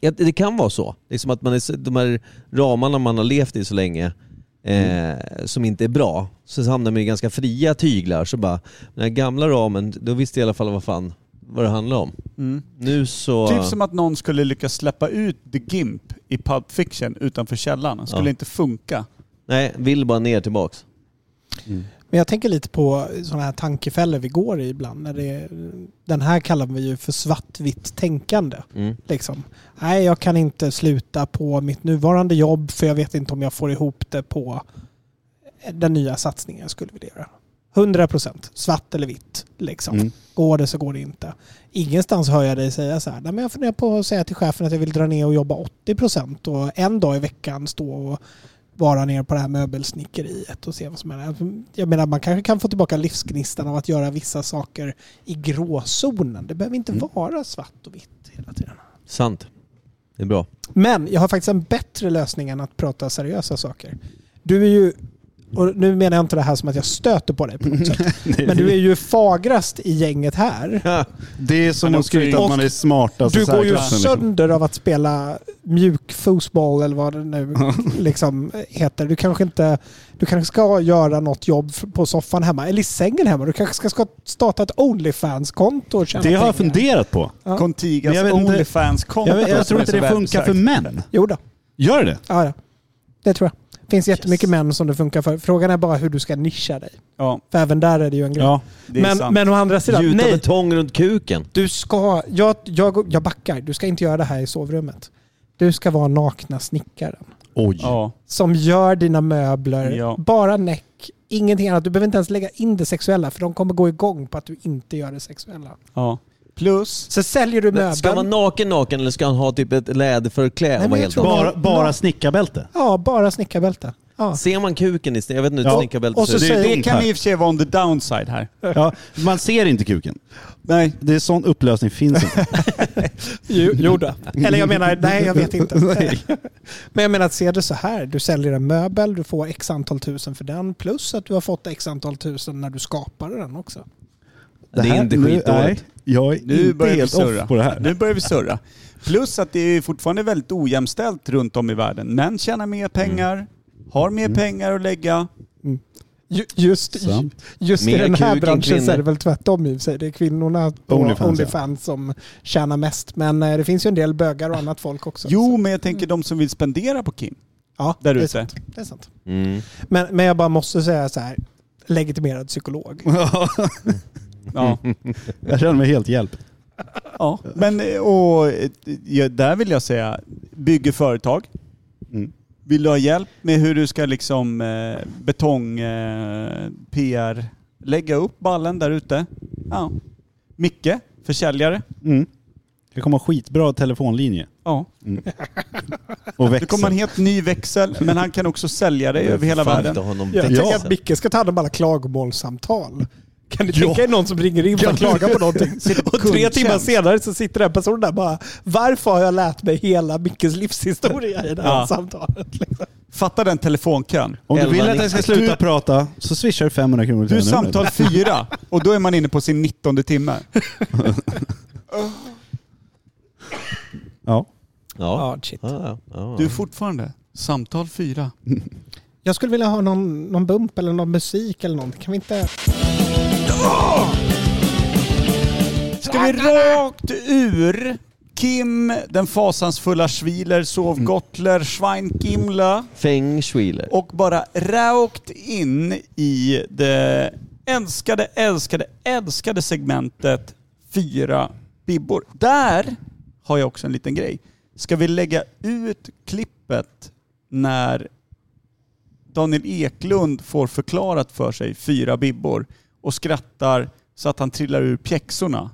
E: Ja, det det kan vara så. Liksom att man är, så- de här ramarna man har levt i så länge eh,
D: Mm.
E: som inte är bra, så hamnar man i ganska fria tyglar. Så bara, den här gamla ramen, då visste jag i alla fall vad fan vad det handlar om.
A: Mm.
E: Nu så...
A: Typ som att någon skulle lyckas släppa ut The Gimp i Pulp Fiction utanför källaren. Skulle
E: Ja.
A: inte funka.
E: Nej, vill bara ner tillbaks.
D: Men jag tänker lite på sådana här tankefällor vi går i ibland. När det, den här kallar vi ju för svartvitt tänkande.
E: Mm.
D: Liksom. Nej, jag kan inte sluta på mitt nuvarande jobb för jag vet inte om jag får ihop det på den nya satsningen jag skulle vilja göra. 100 procent, svart eller vitt. Liksom.
I: Mm.
D: Går det så går det inte. Ingenstans hör jag dig säga så här, Nej, men jag funderar på att säga till chefen att jag vill dra ner och jobba 80 procent och en dag i veckan stå och vara ner på det här möbelsnickeriet och se vad som händer. Jag menar, man kanske kan få tillbaka livsgnistan av att göra vissa saker i gråzonen. Det behöver inte
I: Mm.
D: vara svart och vitt hela tiden.
E: Sant. Det är bra.
D: Men jag har faktiskt en bättre lösning än att prata seriösa saker. Du är ju, och nu menar jag inte det här som att jag stöter på dig på
I: [LAUGHS]
D: något sätt, men du är ju fagrast i gänget här.
I: Det är
A: Men
I: som att
A: också
I: skryta
A: i-
I: att man är smartast i
D: Du går ju
I: särklassen, liksom.
D: sönder av att spela mjuk fotboll eller vad
I: [LAUGHS]
D: det nu liksom heter. Du kanske inte, du kanske ska göra något jobb f- på soffan hemma eller i sängen hemma. Du kanske ska- ska starta ett Onlyfans-konto och tjäna
I: liksom. Det har jag
D: pengar.
I: funderat på.
D: Ja.
A: Contigas
I: Men jag vet inte-
A: Onlyfans-konto.
I: Jag, vet- jag
A: som
I: tror
A: är
I: inte
A: så
I: det funkar
A: välbesökt.
I: för män.
D: Jo då.
I: Gör det?
D: Ja, ja. Det tror jag. Det finns jättemycket män som det funkar för. Frågan är bara hur du ska nischa dig.
A: Ja,
D: För även där är det ju en grej.
I: Ja.
A: det är
D: men,
A: sant.
D: men å andra sidan,
E: Gjuta
D: nej.
E: betong runt kuken.
D: Du ska, jag, jag, jag backar. Du ska inte göra det här i sovrummet. Du ska vara nakna snickaren.
I: Oj.
A: ja.
D: Som gör dina möbler,
A: Ja.
D: bara näck, ingenting annat. Du behöver inte ens lägga in det sexuella för de kommer gå igång på att du inte gör det sexuella.
A: Ja. Plus,
D: Så säljer du möbeln.
E: Ska han vara naken naken eller ska han ha typ ett läderförkläde?
D: Nej,
E: och vara
D: men jag
E: helt
D: tror-
E: naken?
I: Bara, bara
D: Ja.
I: snickarbälte.
D: Ja, bara snickarbälte. Ja.
E: Ser man kuken istället? Jag vet inte hur
I: Ja,
E: ett snickarbälte
D: och så
E: ser ut.
D: säger-
A: det
I: dumt
A: kan
I: här.
A: i och för sig vara on the downside här.
I: Ja, man ser inte kuken.
A: Nej.
I: Det är sån upplösning finns
A: [LAUGHS]
I: inte.
D: Jo, jo då. Eller jag menar, nej jag vet inte.
I: Nej.
D: Men jag menar att se det så här. Du säljer en möbel, du får x antal tusen för den. Plus att du har fått x antal tusen när du skapade den också.
E: Det är inte
I: nu-
E: skitdåligt.
I: nej, Jag är
A: Nu
I: inte
A: börjar vi
I: helt
A: surra.
I: off på det här.
A: Nu börjar vi surra. Plus att det är fortfarande väldigt ojämställt runt om i världen. Män tjänar mer pengar,
I: Mm.
A: har mer pengar att lägga.
D: Ju- Just,
I: Sant.
D: just i
E: Mer
D: den här
E: kuk än
D: branschen så
E: kvinnor.
D: är det väl tvärtom i och för sig. Det är kvinnorna på
I: Onlyfans,
D: Onlyfans,
I: ja.
D: som tjänar mest. Men eh, det finns ju en del bögar och annat folk också.
A: Jo,
D: Så-
A: men jag tänker de som vill spendera på Kim.
D: ja,
A: där
D: det är
A: ute.
D: sant. Det är sant.
E: Mm.
D: Men, men jag bara måste säga så här. legitimerad psykolog.
I: [LAUGHS]
A: Ja.
I: Jag känner mig helt hjälpt.
A: ja. Men eh, och, eh, ja, där vill jag säga, bygger företag.
I: Mm.
A: Vill du ha hjälp med hur du ska liksom eh, betong eh, PR lägga upp ballen där ute? Ja. Micke, försäljare.
I: Mm. Det kommer ha skitbra telefonlinje
A: Ja.
I: och
A: Det kommer
I: växel.
A: en helt ny växel, men han kan också sälja dig över hela
E: Fan,
A: världen.
E: inte ha någon
D: Jag
E: växel.
D: tänker att Micke ska ta hand om alla klagomålssamtal. Kan du tänka dig någon som ringer in för att klaga på [LAUGHS] någonting? Och tre
A: kundtjänst.
D: timmar senare så sitter den personen där bara Varför har jag lärt mig hela Mickes livshistoria i det här
A: Ja.
D: samtalet? Liksom.
A: Fatta den telefonkön.
I: Om du vill
E: 11,
I: att jag ska sluta prata så swishar du 500 kronor till
A: Du är
I: det numret.
A: samtal fyra och då är man inne på sin 19 timme.
I: Ja.
E: Ja.
D: shit.
E: Ja, ja, ja.
A: Du är fortfarande samtal fyra.
D: Jag skulle vilja ha någon, någon bump eller någon musik eller någonting. Kan vi inte...
A: Ska vi rakt ur Kim, den fasansfulla Schwiler, Sovgottler, Schweinkimla
E: Feng Schwiler.
A: och bara rakt in i det älskade, älskade, älskade segmentet Fyra bibbor. Där har jag också en liten grej. Ska vi lägga ut klippet när Daniel Eklund får förklarat för sig fyra bibbor och skrattar så att han trillar ur pjäxorna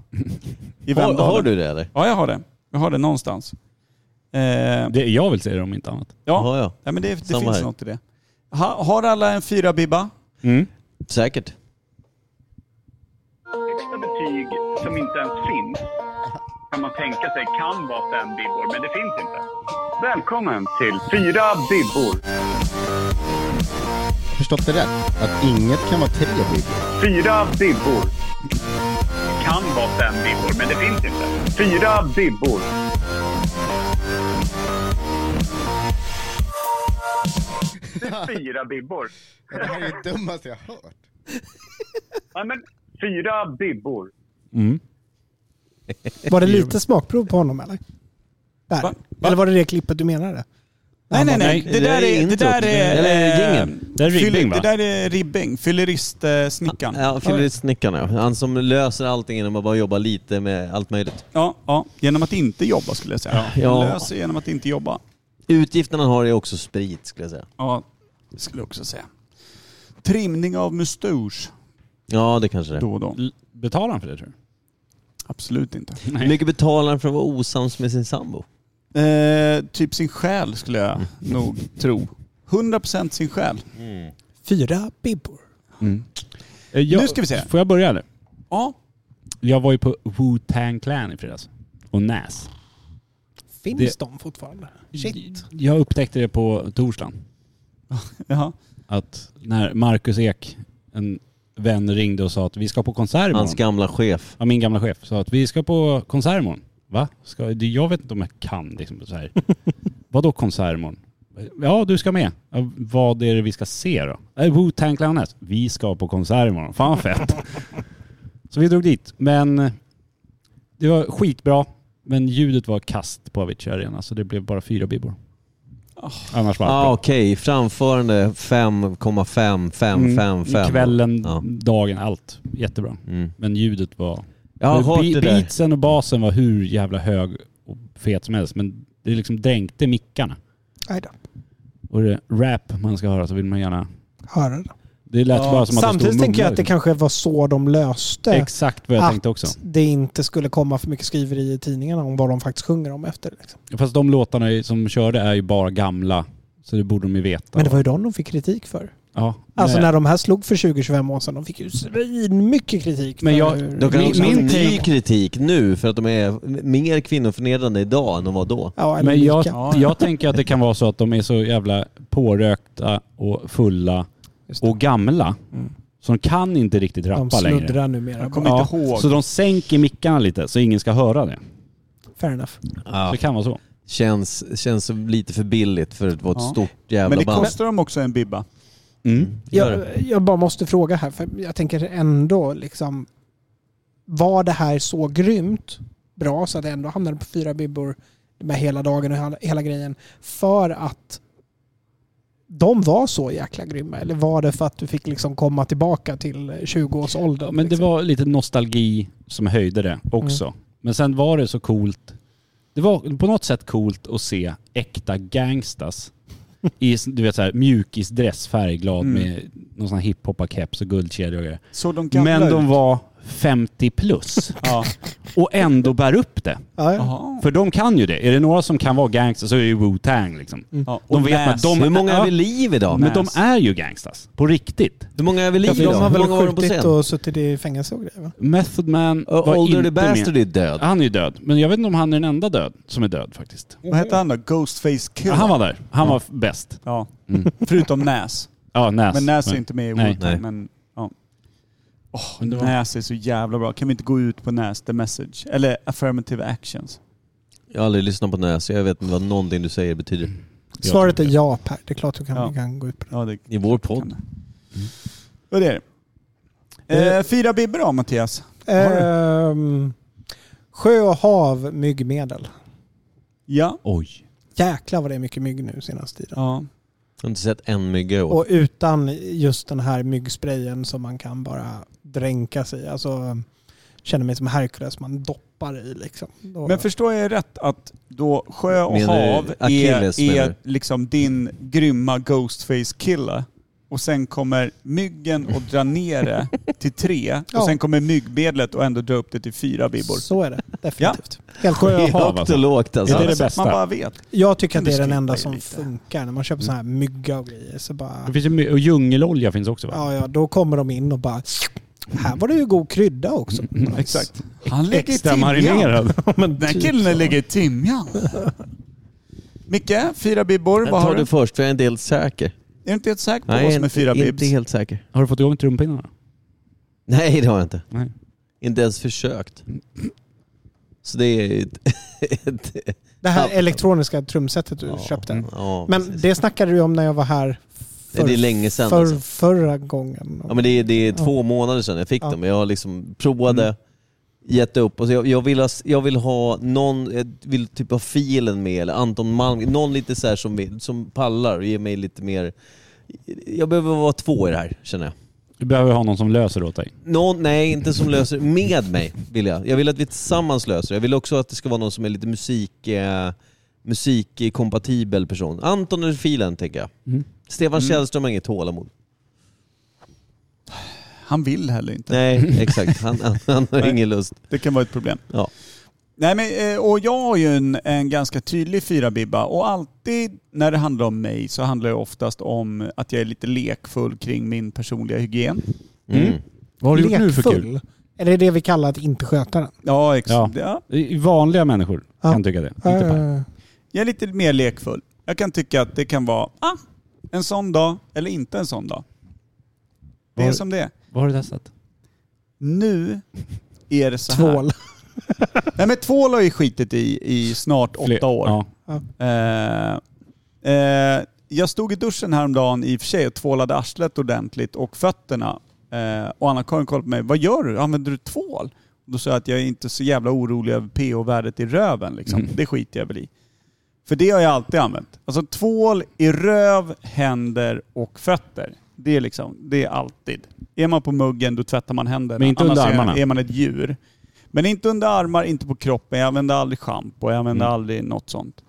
A: i
E: [LAUGHS] Har,
A: Vemdalen?
E: har du det eller?
A: Ja, jag har det. Jag har det någonstans. Eh,
B: Det jag vill se det om inte annat.
A: ja.
E: Har jag.
A: Nej, men det, det
E: Samma
A: finns
E: här.
A: något i det. Ha, har alla en fyra bibba?
E: Säkert.
J: Högsta betyg som inte ens finns kan man tänka sig kan vara fem bibbor, men det finns inte. Välkommen till Fyra bibbor.
K: Förstått det rätt? Att inget kan vara tre bibbor?
J: Fyra bibbor. Kan vara fem bibbor, men det finns inte. Fyra bibbor. Fyra bibbor.
K: Det här är det dummaste jag har hört.
J: Ja, men fyra bibbor.
D: Var det lite smakprov på honom eller? Där.
A: Va? Va?
D: Eller var det det klippet du menade?
A: Nej, nej, nej. Det där är... Det där är,
E: Eller är det
A: eh,
E: jingeln?
B: Det är ribbing,
A: fyller-
B: va?
A: Det där är ribbing. Fyllerist-snickaren.
E: Ja, fyllerist-snickaren ja. Han som löser allting genom att bara jobba lite med allt möjligt.
A: Ja, ja. Genom att inte jobba skulle jag säga.
E: Ja.
A: Löser genom att inte jobba.
E: Utgifterna han har är också sprit skulle jag säga.
A: Ja, det skulle jag också säga. Trimning av mustasch
E: Ja, det kanske det är.
A: då och då.
B: L- Betalar han för det tror du?
A: Absolut inte.
E: Hur mycket betalar han för att vara osams med sin sambo?
A: Eh, typ sin själ skulle jag nog tro. 100% sin själ.
D: Fyra bibbor.
B: Eh, jag-
A: Nu ska vi se.
B: Får jag börja eller?
A: Ja.
B: Jag var ju på Wu-Tang Clan i fredags. Och Nas.
D: Finns
B: Det-
D: de fortfarande?
A: Mm.
D: Shit.
B: Jag upptäckte det på torsdagen.
A: Jaha.
B: Att när Marcus Ek, en vän, ringde och sa att vi ska på konsert imorgon.
E: Hans gamla chef.
B: Ja, min gamla chef sa att vi ska på konsert imorgon. Va? Ska, det- jag vet inte om jag kan liksom så här. Vadå konsert imorgon? Ja, du ska med. Ja, vad är det vi ska se då? Äh, Wu-Tang Clan Nas. Vi ska på konsert imorgon. Fan vad fett. Så vi drog dit. Men eh, det var skitbra. Men ljudet var kast på Avicii Arena så det blev bara fyra bibbor. Annars var allt
E: Ah,
B: bra.
E: Okej, framförande 5,5, 5, 5, 5.
B: Mm. Kvällen,
E: Ja.
B: dagen, allt. Jättebra.
E: Mm.
B: Men ljudet var...
E: Jag har hört
B: Be-
E: det där.
B: beatsen och basen var hur jävla hög och fet som helst men det liksom dränkte mickarna.
D: Aj då.
B: Och det rap man ska höra så vill man gärna...
D: Höra det.
B: Det lät bara som att det
D: Samtidigt
B: stod och
D: tänker jag att det
B: mumlade.
D: Ah. kanske var så de löste
B: Exakt vad jag tänkte också.
D: att det inte skulle komma för mycket skriveri i tidningarna om vad de faktiskt sjunger om efter. Liksom.
B: Fast de låtarna ju- som körde är ju bara gamla. Så det borde de ju veta.
D: Men det var ju de de fick kritik för.
B: ja.
D: Alltså
B: Nej.
D: när de här slog för 20-25 år sedan, de fick ju mycket kritik.
B: Men
D: för
B: jag-
D: hur-
E: De kan
B: Min-
E: också ha
B: min
E: ny
B: take-
E: kritik nu för att de är mer kvinnoförnedrande idag än de var då.
D: Ja, eller
B: Men jag,
D: lika.
B: jag tänker att det kan vara så att de är så jävla pårökta och fulla
D: Just det.
B: och gamla. Så de kan inte riktigt
D: Mm. De
B: rappa längre.
D: snuddrar numera.
A: Jag kommer inte ihåg.
B: Så de sänker mickarna lite så ingen ska höra det.
D: Fair enough.
B: Så det kan vara så.
E: Känns, känns lite för billigt för att vara ett
A: Ja.
E: stort jävla
A: Men det
E: band. Mm.
A: kostar dem också en bibba. Mm.
E: Gör
D: Jag, jag bara måste fråga här, för jag tänker ändå liksom... Var det här så grymt bra så att det ändå hamnade på fyra bibbor med hela dagen och hela, hela grejen för att de var så jäkla grymma? Eller var det för att du fick liksom komma tillbaka till 20-årsåldern?
B: Ja, men det
D: liksom?
B: var lite nostalgi som höjde
A: Mm.
B: det också. Men sen var det så coolt. Det var på något sätt coolt att se
A: [LAUGHS]
B: äkta gangstas i du vet, så här, mjukisdress, färgglad
A: Mm.
B: med någon sån här hiphopparkeps och guldkedjor och grejer.
A: Så de gamla
B: Men de
A: ut?
B: var 50
A: [LAUGHS]
B: plus och ändå bär upp det. För de kan ju det. Är det några som kan vara gangsters så är det ju Wu-Tang liksom.
A: Ja,
B: De
A: och
B: vet att
A: Nas.
B: de,
E: Hur många är
B: ja,
E: vid liv idag?
B: Men de
E: Nas.
B: är ju gangsters. På riktigt.
E: Hur många är
D: Ja,
E: vid liv
D: för de
E: idag?
D: har
E: Hur många var
D: väl
E: de på
D: skjutit
E: scen?
D: och suttit i fängelse och grejer va?
B: Method Man var
E: Older
B: inte
E: the Bastard
B: med.
E: är död.
B: Han är ju död. Men jag vet inte om han är den enda död som är död faktiskt.
A: Vad hette han då? Ghostface Killer?
B: Ja, han var där. Han var f- bäst.
A: Ja.
B: Mm.
A: Förutom Näs.
B: Ja, Nas.
A: Men Näs är inte med i
B: Alltså, Nej.
A: Wu-Tang.
E: Nej.
A: Men, ja. Åh,
B: Men det var-
A: Näs är så jävla bra. Kan vi inte gå ut på Näs The Message? Eller Affirmative Actions.
E: Jag har aldrig lyssnat på Näs, så jag vet inte vad någonting du säger betyder.
B: Jag
D: Svaret är
B: tror det.
D: ja Per. Det är klart du kan,
A: Ja.
D: vi kan gå ut på det.
A: Ja, det
E: I vår podd.
B: Mm.
A: Och det är det. Eh, fyra bibbor då Mattias. Har du?
D: Ehm, sjö och hav, myggmedel.
A: Ja.
B: Oj.
D: Jäklar vad det är mycket mygg nu senaste tiden.
A: ja.
E: Jag har inte sett en mygga i år. [LAUGHS]
D: Och utan just den här myggsprayen som man kan bara dränka sig i. Alltså, känner mig som Herkules, man doppar i liksom. Då-
A: Men förstår jag rätt att då sjö och
E: Menar du
A: hav
E: Achilles,
A: är,
E: menar
A: är
E: du?
A: liksom din grymma Ghostface-kille och sen kommer myggen och drar ner det till [LAUGHS] tre
D: Ja.
A: och sen kommer myggmedlet och ändå drar upp det till fyra bibbor.
D: Så är det, definitivt. Helt
B: Sjö
D: sjukt.
B: och hav
E: Högt och
B: alltså.
E: lågt alltså.
B: Är det det
A: Så att
B: bästa?
A: Man bara vet.
D: Jag tycker att det är den
A: Kan du
D: enda
A: skryta
D: som
A: lite?
D: funkar. När man köper sån här
E: Mm.
D: mygga och grejer så bara...
B: Det finns ju my- och djungelolja finns också va?
D: Ja, ja, då kommer de in och bara... Här var det ju god krydda också.
E: Mm.
D: Nice.
A: Exakt. Han lägger
B: Extra
A: timjan.
E: [LAUGHS]
B: marinerad.
A: Den
E: typ
A: här killen lägger timjan. Micke, fyra bibbor.
E: Jag
A: Vad har
E: tar
A: du?
E: det först för jag är inte helt säker.
A: Är du inte helt säker på
E: Nej,
A: vad
E: jag
A: som är fyra
E: inte, inte
A: bibbs?
E: helt säker.
B: Har du fått igång trumpinnarna?
E: Nej det har jag inte.
B: Nej.
E: Inte ens försökt. Så det är ett... [LAUGHS] ett
D: Det här
E: Ja.
D: elektroniska trumsetet du
E: Ja. Mm.
D: köpte.
E: ja,
D: Men
E: precis.
D: det snackade du om när jag var här
E: Nej, det är länge sedan
D: för,
E: alltså.
D: förra gången.
E: Ja, men det, är, det är
D: Ja.
E: två månader sedan jag fick
D: Ja.
E: dem. Jag har liksom provade, gett upp. Och så jag, jag, vill ha, jag vill ha någon, jag vill typ ha filen med, eller Anton Malm, någon lite så här som, vill- som pallar och ger mig lite mer... Jag behöver vara två i det här känner jag.
B: Du behöver ha någon som löser det åt dig.
E: Någon, nej, inte som löser med mig vill jag. Jag vill att vi tillsammans löser det. Jag vill också att det ska vara någon som är lite musik, eh, musikkompatibel person. Anton eller filen tänker jag.
B: Mm.
E: Stefan Källström har inget tålamod.
A: Han vill heller inte.
E: Nej, [LAUGHS] exakt. Han, han, han har
A: Nej.
E: ingen lust.
A: Det kan vara ett problem.
E: Ja.
A: Nej, men, eh, och jag har ju en, en ganska tydlig fyra bibba och alltid när det handlar om mig så handlar det oftast om att jag är lite lekfull kring min personliga hygien.
E: Mm.
B: Mm. Vad har du gjort nu för kul?
D: Lekfull. Är det det vi kallar att inte sköta den?
A: Ja, exakt. Ja.
B: I- Vanliga människor
D: Ja.
B: kan tycka det. Inte Per.
D: Eh,
A: Jag är lite mer lekfull. Jag kan tycka att det kan vara ah, en sån dag eller inte en sån dag. Det är
B: Var-
A: som det är.
B: Vad har du testat?
A: Nu är det så här.
D: Tvål.
A: Nej men tvål har jag ju skitit i i snart
B: Fler-
A: åtta år.
B: Ja.
A: Eh, eh, jag stod i duschen häromdagen i och för sig och tvålade arslet ordentligt och fötterna. Eh, och Anna-Karin kollade på mig. Vad gör du? Använder du tvål? Och då sa jag att jag är inte så jävla orolig över pH-värdet i röven. Liksom.
B: Mm.
A: Det skiter jag väl i. För det har jag alltid använt. Alltså tvål i röv, händer och fötter. Det är liksom, det är alltid. Är man på muggen då tvättar man händerna.
B: Men inte under
A: Annars är-
B: armarna.
A: är man ett djur. Men inte under armar, inte på kroppen. Jag använde aldrig schampo, jag
B: Mm.
A: använde aldrig något sånt.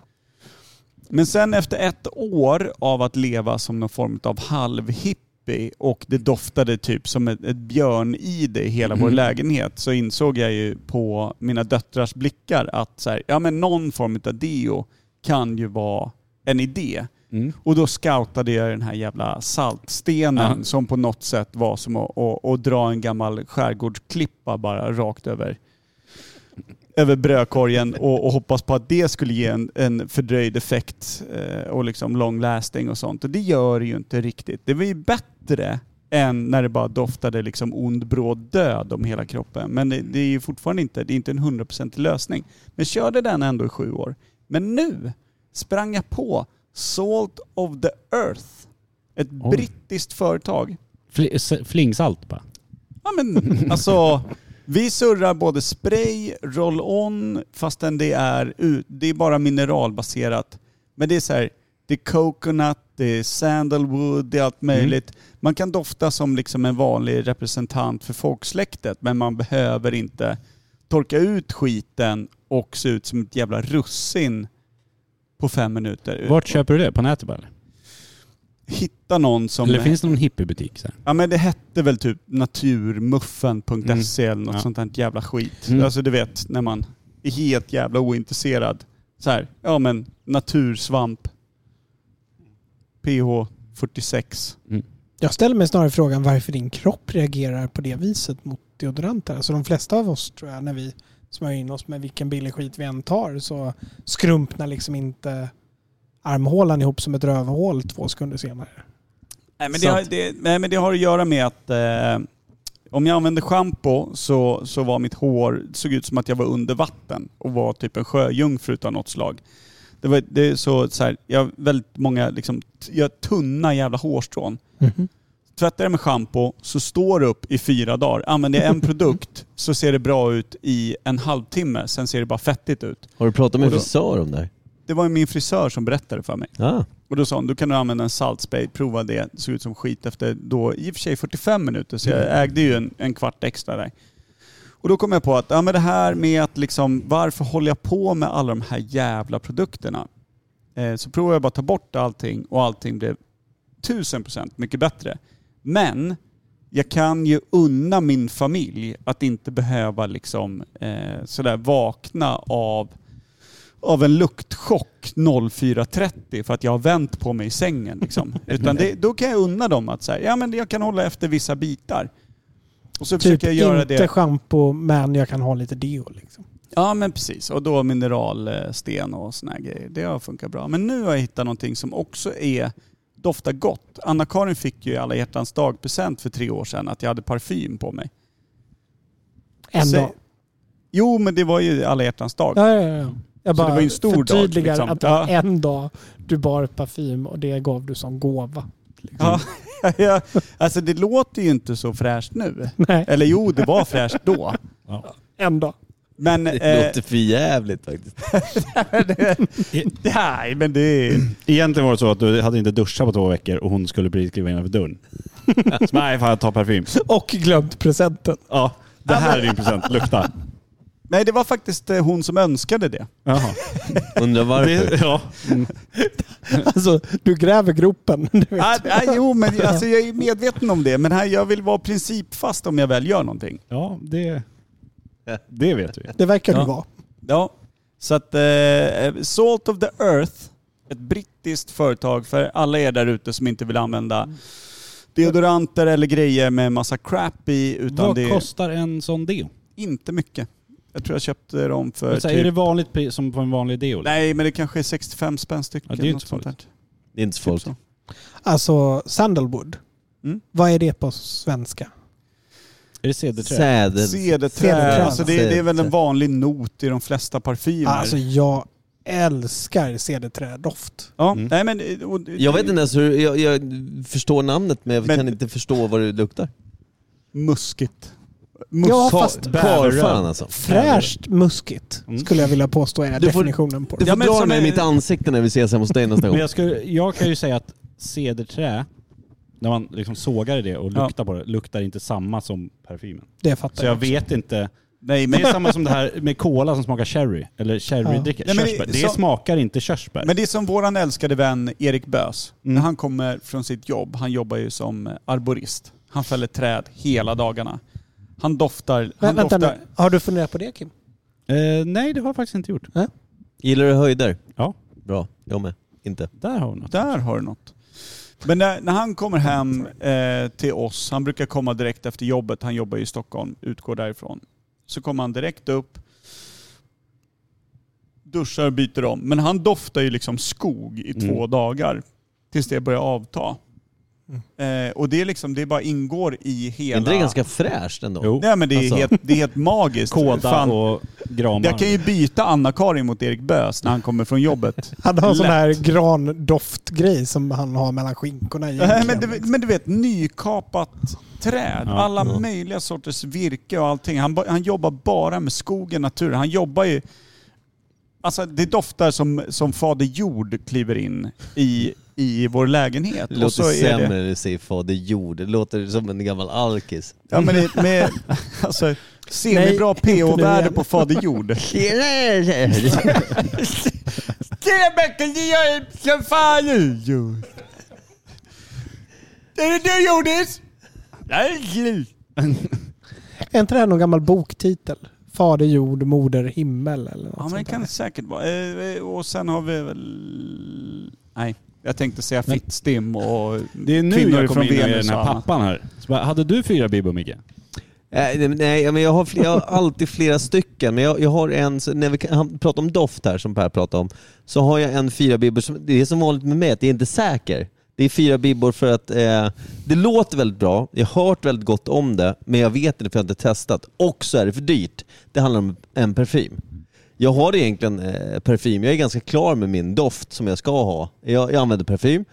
A: Men sen efter ett år av att leva som någon form av halvhippie och det doftade typ som ett, ett björn-id i hela vår
B: Mm.
A: lägenhet så insåg jag ju på mina döttrars blickar att så här, ja, men någon form av deo kan ju vara en idé.
B: Mm.
A: Och då scoutade jag den här jävla saltstenen
B: Ja.
A: som på något sätt var som att, att, att dra en gammal skärgårdsklippa bara rakt över, över brödkorgen och, och hoppas på att det skulle ge en, en fördröjd effekt eh, och liksom long lasting och sånt. Och det gör det ju inte riktigt. Det var ju bättre än när det bara doftade liksom ond bråd död om hela kroppen. Men det, det är ju fortfarande inte, det är inte en 100% lösning. Men körde den ändå i sju år. Men nu sprang jag på Salt of the Earth. Ett
B: Oj.
A: brittiskt företag.
B: Fli- s- Flingsalt bara.
A: Ja men alltså, vi surrar både spray, roll-on, fastän det är, ut- det är bara mineralbaserat. Men det är så här, Det är coconut, det är sandalwood, det är allt möjligt. Man kan dofta som liksom en vanlig representant för folksläktet men man behöver inte torka ut skiten och se ut som ett jävla russin på fem minuter.
B: Vart köper du det? På nätet bara? eller?
A: Hitta någon som...
B: Eller finns det någon hippiebutik? Så här?
A: Ja men det hette väl typ naturmuffen.se eller något sånt där jävla skit.
B: Mm.
A: Alltså du vet när man är helt jävla ointresserad. Så här, ja men natursvamp. PH 46.
D: Jag ställer mig snarare frågan varför din kropp reagerar på det viset mot deodoranter. Alltså de flesta av oss tror jag när vi smörjer in oss med vilken billig skit vi än tar så skrumpnar liksom inte armhålan ihop som ett rövhål två sekunder senare.
A: Nej men,
D: Så
A: det har,
D: att-
A: det, nej men det har att göra med att eh, om jag använde schampo så, så var mitt hår, såg ut som att jag var under vatten och var typ en sjöjungfru av något slag. Det var det är så, så här, jag har väldigt många liksom, t- jag har tunna jävla hårstrån.
D: Mhm.
A: Tvättar jag med schampo så står det upp i fyra dagar. Använder jag
D: [LAUGHS]
A: en produkt så ser det bra ut i en halvtimme, sen ser det bara fettigt ut.
E: Har du pratat med
A: Och
E: en
A: då-
E: frisör om det här? Ah.
A: Det var ju min frisör som berättade för mig. Och då sa hon, du kan du använda en saltspray, prova det. Det såg ut som skit efter då, i och för sig 45 minuter, så jag ägde ju en, en kvart extra där. Och då kom jag på att, ja men det här med att liksom, varför håller jag på med alla de här jävla produkterna? Eh, så provade jag bara att ta bort allting och allting blev 1000% mycket bättre. Men jag kan ju unna min familj att inte behöva liksom eh, sådär vakna av, av en luktchock 04.30 för att jag har vänt på mig i sängen.
D: [LAUGHS]
A: Liksom. Utan det, då kan jag unna dem att säga, ja men jag kan hålla efter vissa bitar. Och så
D: Typ
A: försöker jag göra
D: inte
A: det.
D: schampo men jag kan ha lite deo. Liksom.
A: Ja men precis. Och då mineralsten och såna här grejer. Det har funkat bra. Men nu har jag hittat någonting som också är doftar gott. Anna-Karin fick ju i alla hjärtans dag present för tre år sedan att jag hade parfym på mig.
D: En
A: Säg-
D: dag.
A: Jo men det var ju alla hjärtans dag.
D: Ja, ja, ja. Jag
A: Så
D: bara
A: det var ju en stor dag,
D: förtydligar
A: liksom.
D: att det var en dag du bar parfym och det gav du
B: [LAUGHS]
D: som gåva.
A: Ja, [LAUGHS] ja, alltså det låter ju inte så fräscht nu.
D: Nej.
A: Eller jo, det var fräscht då.
D: En dag.
A: Men...
E: Det
A: eh,
E: låter för jävligt faktiskt.
A: [LAUGHS] Nej men det är...
I: Egentligen var det så att du hade inte duschat på två veckor och hon skulle precis kliva innanför dörren.
A: [LAUGHS]
I: Så bara, nej fan jag tar parfym.
D: Och glömt presenten.
I: Ja, det här är din present.
A: [LAUGHS]
I: Lukta.
A: Nej det var faktiskt eh, hon som önskade det.
I: Jaha.
E: Undrar varför.
I: Det, ja.
D: Alltså, du gräver gropen. [LAUGHS] Du vet.
A: Ah, ah, jo
B: [LAUGHS]
A: men alltså, jag är medveten om det. Men här, jag vill vara principfast om jag väl gör någonting.
I: ja, det... Det vet vi.
D: Det verkar
A: Ja.
D: du vara.
A: Ja, så att eh, Salt of the Earth, ett brittiskt företag för alla er där ute som inte vill använda
B: Mm.
A: deodoranter eller grejer med massa crap i. Utan
B: Vad
A: det är
B: kostar en sån deo?
A: inte mycket. Jag tror jag köpte dem för
B: Så här,
A: typ...
B: Är det vanligt pris som på en vanlig deo?
A: Nej, men det kanske är 65 spänn stycken.
B: Ja, det är ju
A: något
B: inte
A: sånt där. Typ
B: farligt.
E: Det är inte Typ så farligt.
A: så.
D: Alltså sandalwood.
A: Mm.
D: Vad är det på svenska?
B: Är det cederträ?
E: Säden.
A: Cederträ.
D: Cederträ.
A: Alltså det, det är väl en
E: Cederträ.
A: vanlig not i de flesta parfymer.
D: Alltså jag älskar cederträdoft.
A: ja,
B: Mm.
A: nej, men, och,
E: Jag vet inte ens hur, jag, jag förstår namnet men jag
A: Men-
E: kan inte förstå vad det luktar.
A: Muskigt.
D: Ja,
E: Ka-
D: fast
E: Karfan alltså.
D: fräscht muskigt
B: Mm.
D: skulle jag vilja påstå är
E: Du får-
D: definitionen på det.
E: Du får
A: Ja, men
E: dra
A: som
E: den här i
A: är-
E: mitt ansikte när vi ses hemma hos dig nästa gång.
B: Men jag, skulle, jag kan ju säga att cederträ, när man liksom sågar det och
A: Ja.
B: luktar på det, luktar inte samma som parfymen.
D: Det fattar
B: Så jag
D: jag.
B: vet inte.
A: Nej,
B: Men
A: men
B: det är samma som det här med cola som smakar cherry. Eller cherrydricka.
A: Ja. Nej, men det-
B: Körsbär. Det,
A: så-
B: smakar inte körsbär.
A: Men det är som våran älskade vän Erik Bös.
D: Mm.
A: När han kommer från sitt jobb, han jobbar ju som arborist. Han fäller träd hela dagarna. Han doftar...
D: Men,
A: Han
D: vänta
A: doftar
D: nu. Har du funderat på det Kim?
B: Eh, nej, det har jag faktiskt inte gjort.
E: Gillar du höjder?
B: Ja.
E: Bra, jag med. Inte.
B: Där har hon något.
A: Där har du något. Men när, när han kommer hem eh, till oss, han brukar komma direkt efter jobbet, han jobbar ju i Stockholm, utgår därifrån. Så kommer han direkt upp, duschar och byter om. Men han doftar ju liksom skog i två
E: Mm.
A: dagar tills det börjar avta. Eh, och det är liksom, det bara ingår i
E: Mm. Är
A: hela...
E: inte det ganska fräscht ändå?
B: Jo.
A: Nej men det är,
E: Alltså.
A: helt, det är helt magiskt.
B: Kåda
A: Fan,
B: och gramar.
A: jag kan ju byta Anna-Karin mot Erik Bös när han kommer från jobbet.
D: Han har en sån
A: Lätt.
D: här grandoftgrej som han har mellan
A: [LAUGHS]
D: skinkorna
A: Nej,
D: egentligen.
A: men, du, men du vet, nykapat träd.
B: Ja.
A: Alla möjliga sorters virke och allting. Han, ba- han jobbar bara med skogen, naturen. Han jobbar ju Alltså det doftar som, som Fader Jord kliver in i, i vår lägenhet.
E: Det
A: Och
E: låter
A: så är
E: sämre
A: det-
E: när du säger fader jord. Det låter som en gammal alkis.
A: Ja men det, med alltså, semibra pH-värde på Fader Jord. Tjena Bertil, det är jag som fader jord. Är det du Jordis?
D: Är inte det här någon gammal boktitel? Fader jord, moder himmel eller något
A: Ja men det
D: sånt
A: kan det säkert vara. Eh, Och sen har vi väl... Nej, jag tänkte säga fittstim och
B: Det är nu
A: kvinnor
B: jag kommer
A: från
B: in och är
A: Venus
B: den här
A: och annat.
B: pappan här. Så bara, hade du fyra bibor Micke?
E: Eh, Nej, nej, nej, men jag har, fl- jag har alltid flera stycken. Men jag, jag har en, så när vi kan- han pratar om doft här som Per pratar om, så har jag en fyra bibbor. Som, det är som vanligt med mig, att det är inte säker. Det är fyra bibbor för att eh, det låter väldigt bra, jag har hört väldigt gott om det, men jag vet inte för jag har inte testat. Och så är det för dyrt. Det handlar om en parfym. Jag har egentligen eh, parfym, jag är ganska klar med min doft som jag ska ha. Jag, jag använder parfym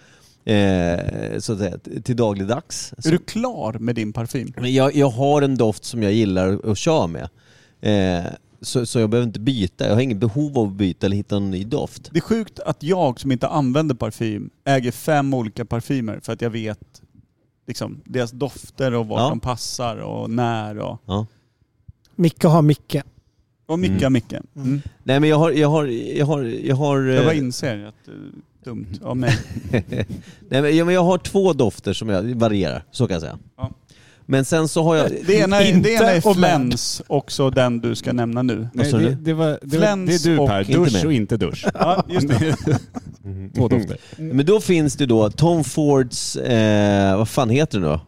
E: eh, så att säga, t- till dagligdags.
A: Är du klar med din parfym?
E: Men jag, jag har en doft som jag gillar att köra med. Eh, så, så jag behöver inte byta. Jag har inget behov av att byta eller hitta en ny doft.
A: Det är sjukt att jag som inte använder parfym äger fem olika parfymer för att jag vet liksom, deras dofter och vart
E: Ja.
A: de passar och när. Och,
E: Ja.
D: Micke har Micke.
A: och Micke har Micke. Mm.
E: Nej men jag har... Jag, har, jag, har, jag, har, eh,
A: Jag bara inser att det är dumt av mig.
E: [LAUGHS] Nej, men, ja, men jag har två dofter som jag varierar, så kan jag säga.
A: Ja.
E: Men sen så har jag...
A: Det ena, är- det ena är
E: och men.
A: flens, också den du ska nämna nu.
E: Vad sa
B: det,
E: du?
B: det, var, det, var, det
A: Flens
B: är du
A: och
B: Per,
E: inte
B: dusch
E: mig.
B: och inte [LAUGHS] dusch.
A: Ja, just det.
B: Två dofter.
E: Men då finns det då Tom Fords, eh, vad fan heter den då?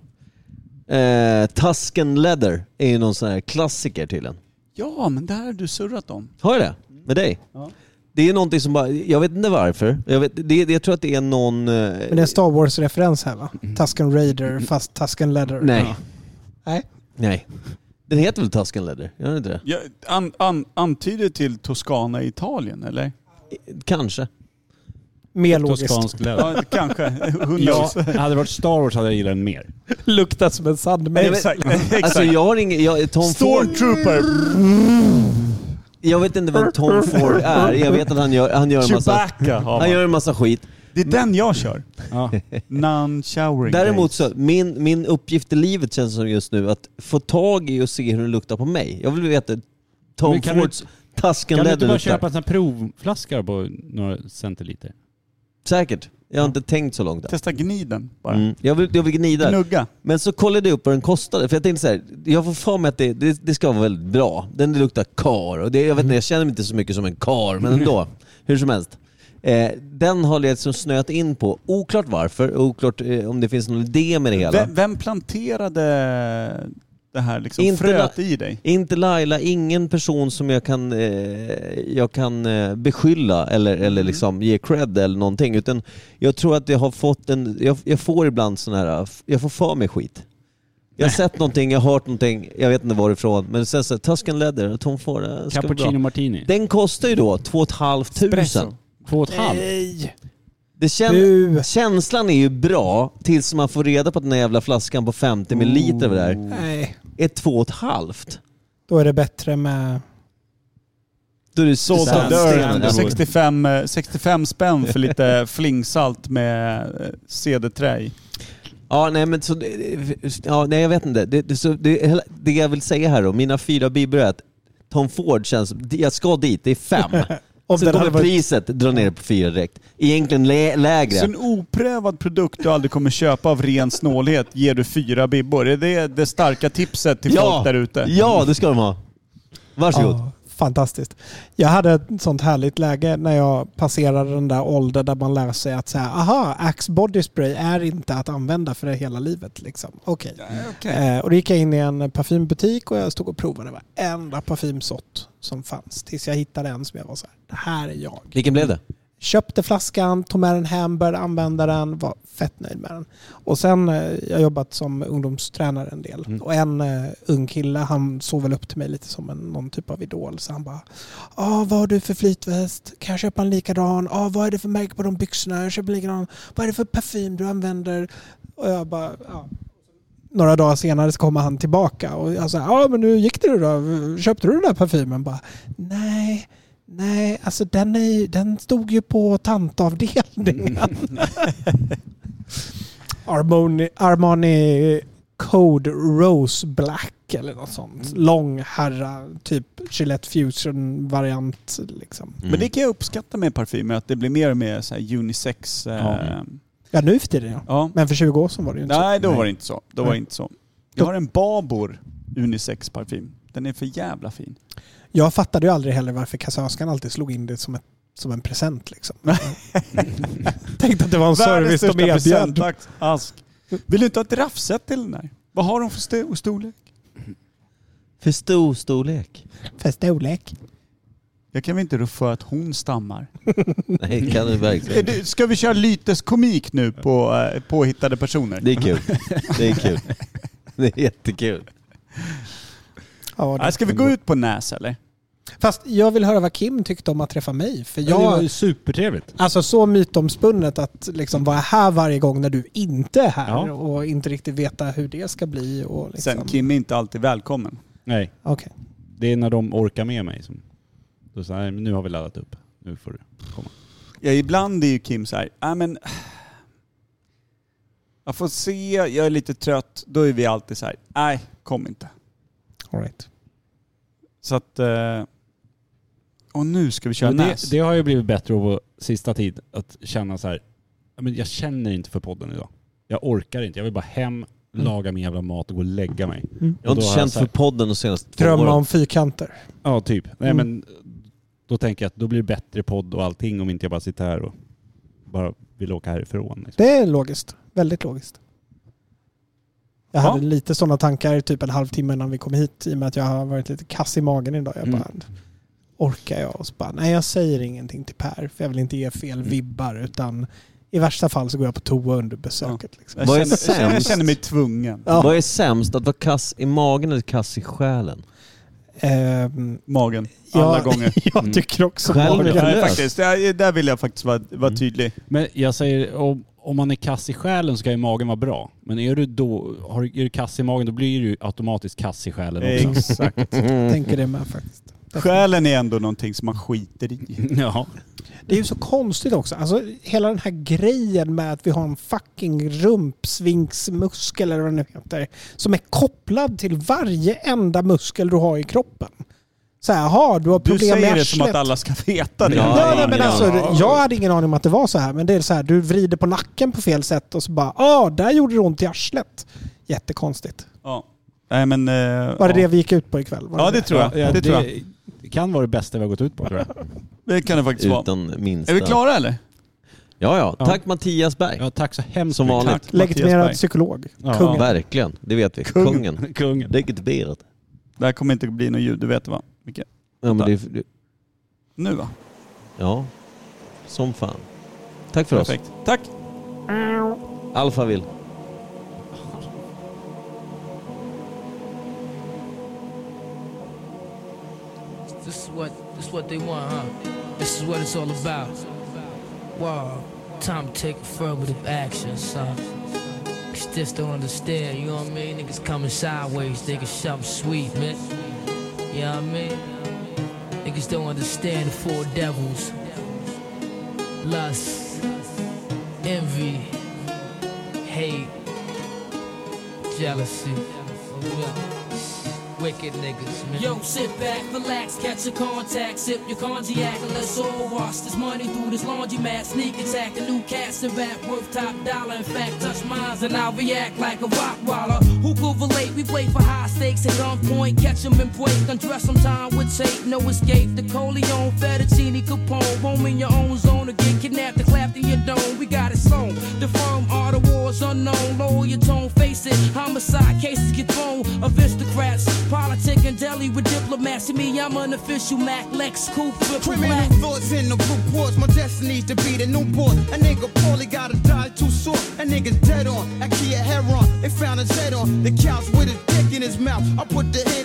E: Eh, Tusken Leather är ju någon sån här klassiker tydligen.
A: Ja, men det här har du surrat om.
E: Har jag det? Med dig? Det är någonting som bara, jag vet inte varför. Jag, vet, det, det- jag tror att det är någon... eh,
D: Men det är en Star Wars-referens här va? Tusken Raider fast Tusken Leather.
E: Mm. Nej.
D: Nej.
E: Nej. Den heter väl Tusken Leather? Gör den inte det?
A: Jag an, an, antyder till Toscana i Italien, eller?
E: Kanske.
D: Mer logiskt. [LAUGHS]
B: Toskansk löv.
E: [LAUGHS]
A: Ja, kanske. Who
B: Ja,
A: knows?
B: hade det varit Star Wars hade jag gillat den mer.
D: Luktar som en sandmängd.
A: Exakt. exakt.
E: [LAUGHS] Alltså jag Mm. har ingen... Jag, Tom Ford,
A: Stormtrooper!
E: jag vet inte vem Tom Ford är. Jag vet att han gör, han gör en massa...
A: Chewbacca har
E: Alltså, Han
A: man.
E: gör en massa skit.
A: Det är den jag
E: [LAUGHS]
A: kör.
B: Ja.
A: Non-showering
E: Däremot
A: days.
E: så, min, min uppgift i livet känns som just nu att få tag i och se hur den luktar på mig. Jag vill veta Tom
B: Men kan du-
E: Fords Tusken
B: Kan du
E: Leather
B: inte bara
E: luktar.
B: köpa en sån här provflaska på några centiliter?
E: Säkert. Jag har inte tänkt så långt än.
A: Testa gniden bara.
E: Mm. Jag, vill, jag vill gnida.
A: Gnugga.
E: Men så kollade jag upp vad den kostade. För jag tänkte så här, jag får för mig att det, det, det ska vara väldigt bra. Den luktar kar. Och det, jag vet inte, jag känner mig inte så mycket som en kar, men ändå. Hur som helst. Eh, den har liksom snöat in på, oklart varför, oklart eh, om det finns någon idé med det hela.
A: Vem, vem planterade det här liksom
E: Inte
A: fröet i dig?
E: Inte Laila, ingen person som jag kan, eh, jag kan eh, beskylla eller, eller liksom ge cred eller någonting. Utan jag tror att jag har fått en, jag, jag får ibland sån här, jag får för mig skit. Jag har sett någonting, jag har hört någonting, jag vet inte varifrån. Men sen så, Tusken Leather, Tom Ford, eh, ska bli
B: Cappuccino
E: bra.
B: martini.
E: Den kostar ju då 2 500.
B: Två och ett halvt.
D: Nej.
E: Det kän,
D: Du.
E: Känslan är ju bra tills man får reda på att den här jävla flaskan på 50 ml där
D: Nej.
E: är 2 500.
D: Då är det bättre med...
E: Då är det
A: Salt and
E: sandsten.
A: earth. 65, eh, 65 spänn för
E: [LAUGHS]
A: lite flingsalt med eh, cederträ i.
E: Ja, nej men så, ja, nej jag vet inte. Det, det, så, det, det jag vill säga här då, mina fyra bibor är att Tom Ford känns, jag ska dit, det är fem.
D: Om
E: Sen
D: den
E: kommer
D: hade varit-
E: priset dra ner på fyra direkt. Egentligen lä,
A: Så
E: lägre.
A: en oprövad produkt du aldrig kommer köpa av ren snålhet ger du fyra bibbor. Är det det starka tipset till folk där ute?
E: ja, det ska de ha. Varsågod.
D: Ja, fantastiskt. Jag hade ett sånt härligt läge när jag passerade den där åldern där man lär sig att säga aha, Axe Body Spray är inte att använda för det hela livet. Liksom. Okej. Eh, och då gick jag in i en parfymbutik och jag stod och provade varenda parfymsort som fanns. Tills jag hittade en som jag var så här, det här är jag.
E: Vilken blev det?
D: Köpte flaskan, tog med den hem, började använda den, var fett nöjd med den. Och sen, eh, jag har jobbat som ungdomstränare en del. Och en eh, ung kille, han såg väl upp till mig lite som en, någon typ av idol. Så han bara, ah, vad har du för flytväst? Kan jag köpa en likadan? Ah, vad är det för märke på de byxorna? Jag köper en likadan. Vad är det för parfym du använder? Och jag bara, ja. Några dagar senare så kommer han tillbaka och jag sa, ja ah, men nu gick det då? Köpte du den där parfymen? Bara, nej, Nej, alltså den, är, ju- den stod ju på tantavdelningen. [LAUGHS] Armani, Armani Code Rose Black eller något sånt. Lång herra, typ Gillette Fusion-variant. Liksom.
A: Men
E: Mm.
A: det kan jag uppskatta med parfymer, att det blir mer och mer så här unisex. eh,
D: Ja. Ja, nu för tiden ja.
A: ja.
D: Men för 20 år sedan var det ju inte
A: Nej,
D: så.
A: då var det inte så. Då var det
D: Nej.
A: inte så. Jag har en Babor unisex parfym. Den är för jävla fin.
D: Jag fattade ju aldrig heller varför kassörskan alltid slog in det som, ett, som en present. Liksom. Tänkte att det var en service de erbjöd.
A: ask. Vill du inte ha ett raffset till den här? Vad har de för sto- storlek?
E: För stor storlek.
D: För storlek.
A: Jag kan väl inte rå för att hon stammar?
E: Nej, det kan du verkligen
A: Är det- Ska vi köra lyteskomik nu på eh, påhittade personer?
E: Det är kul. Det är kul. Det är jättekul.
D: Ja, det-
A: Nej, Ska vi gå ut på Näs eller?
D: Fast jag vill höra vad Kim tyckte om att träffa mig. För jag,
B: supertrevligt.
D: Alltså så mytomspunnet att liksom vara här varje gång när du inte är här
B: Ja.
D: och inte riktigt veta hur det ska bli. Och liksom.
A: Sen, Kim är inte alltid välkommen.
B: Nej.
D: Okej.
B: Det är när de orkar med mig som... Då säger jag, "Nej, men nu har vi laddat upp. Nu får du komma.
A: Ja, ibland är ju Kim så här, "Nej, men... Jag får se, jag är lite trött. Då är vi alltid så här, nej, kom inte.
D: All right.
A: Så att... eh, Och nu ska vi köra
B: Men det,
A: Näs.
B: det har ju blivit bättre på sista tid, att känna så här, "Ja, men jag känner inte för podden idag. Jag orkar inte, jag vill bara hem, laga min jävla mat och gå och lägga mig.
E: Jag har inte känt för podden de senaste två
D: Drömma
E: åren.
D: om fyrkanter.
B: Ja, typ. Nej
D: Mm.
B: men då tänker jag att då blir det bättre podd och allting om inte jag bara sitter här och bara vill åka härifrån. Liksom.
D: Det är logiskt. Väldigt logiskt. Jag
A: Ja.
D: hade lite sådana tankar typ en halvtimme innan vi kom hit i och med att jag har varit lite kass i magen idag. Jag
B: Mm.
D: bara, orkar jag? Och så bara, nej jag säger ingenting till Per för jag vill inte ge fel vibbar utan i värsta fall så går jag på toa under besöket. Liksom.
A: jag,
E: Vad är
A: känner, jag
E: sämst?
A: känner mig tvungen.
D: Ja.
E: Vad är sämst? Att vara kass i magen eller kass i själen?
D: Ehm,
A: Magen.
D: Ja.
A: Alla gånger.
D: [LAUGHS]
A: Mm.
D: Jag tycker också
E: Själv
D: bara
E: är
D: det.
E: jag
A: Nej,
E: löst.
A: faktiskt, där, där vill jag faktiskt vara, vara tydlig.
B: Men jag säger, om, om man är kass i själen så kan ju magen vara bra. Men är du då, har, du- är du kass i magen då blir du ju automatiskt kass i själen också.
A: Exakt.
D: Jag tänker det med faktiskt.
A: Själen är ändå någonting som man skiter i.
B: [LAUGHS] Ja.
D: Det är ju så konstigt också. Alltså, hela den här grejen med att vi har en fucking rumpsvinksmuskel eller vad det nu heter. Som är kopplad till varje enda muskel du har i kroppen. Så här, jaha, du har
A: Du
D: problem med
A: säger det som att
D: arslet.
A: alla ska veta det.
E: Ja,
D: Nej, nej,
E: ingen
D: men alltså,
E: aning.
D: jag hade ingen aning om att det var så här. Men det är så här, du vrider på nacken på fel sätt och så bara, ah, där gjorde det ont i arslet. Jättekonstigt.
A: Ja. Nej, men, eh,
D: Var det
A: ja.
D: det vi gick ut på ikväll? Var
A: Ja, det tror jag.
B: Ja,
A: Det tror jag.
B: det kan vara det bästa vi har gått ut på tror jag.
A: Det kan det faktiskt vara.
E: Utan minsta...
A: Är vi klara eller?
E: Ja, ja.
B: Ja.
E: Tack Mattias Berg.
B: Ja, tack så hemskt
E: Som
B: mycket.
E: vanligt.
A: Tack, Mattias
D: Legitimerad
A: Berg.
D: psykolog.
B: Ja.
D: Kungen.
E: Verkligen. Det vet vi.
A: Kung.
E: Kungen.
B: Kungen.
E: Legitimerad.
A: Det här kommer inte bli något ljud, du vet det va? Micke?
E: Ja, men det, det,
A: Nu va?
E: ja. Som fan. Tack för oss.
A: Perfekt. Tack!
E: Alfa vill.
L: This is what this is what they want, huh? This is what it's all about. Wow, time to take affirmative action, son. Cause just don't understand, you know what I mean? Niggas coming sideways, thinking something sweet, man. You know what I mean? Niggas don't understand the four devils. Lust, envy, hate, jealousy. Wicked niggas, man.
M: Yo, sit back, relax, catch a contact, sip your cognac, and let's all wash this money through this laundromat. Sneak attack, a new cast and rap worth top dollar. In fact, touch mines and I'll react like a rockwaller. Who could relate? We play for high stakes at gunpoint, catch 'em and break, undress them time with tape, no escape. The Coleon, Fettuccine, Capone, roam in your own zone to get kidnapped and clapped in your dome. We got it sewn. The firm art of wars unknown, lower your tone, face it. Homicide cases get thrown, aristocrats, politic and deli with diplomats. To me, I'm an official Mac Lex Coop, cripple
N: Criminal
M: black.
N: thoughts in the reports. My destiny's to be the Newport. A nigga poorly gotta die too short. A nigga's dead on. Ikea Heron. They found his head on the couch with his dick in his mouth. I put the head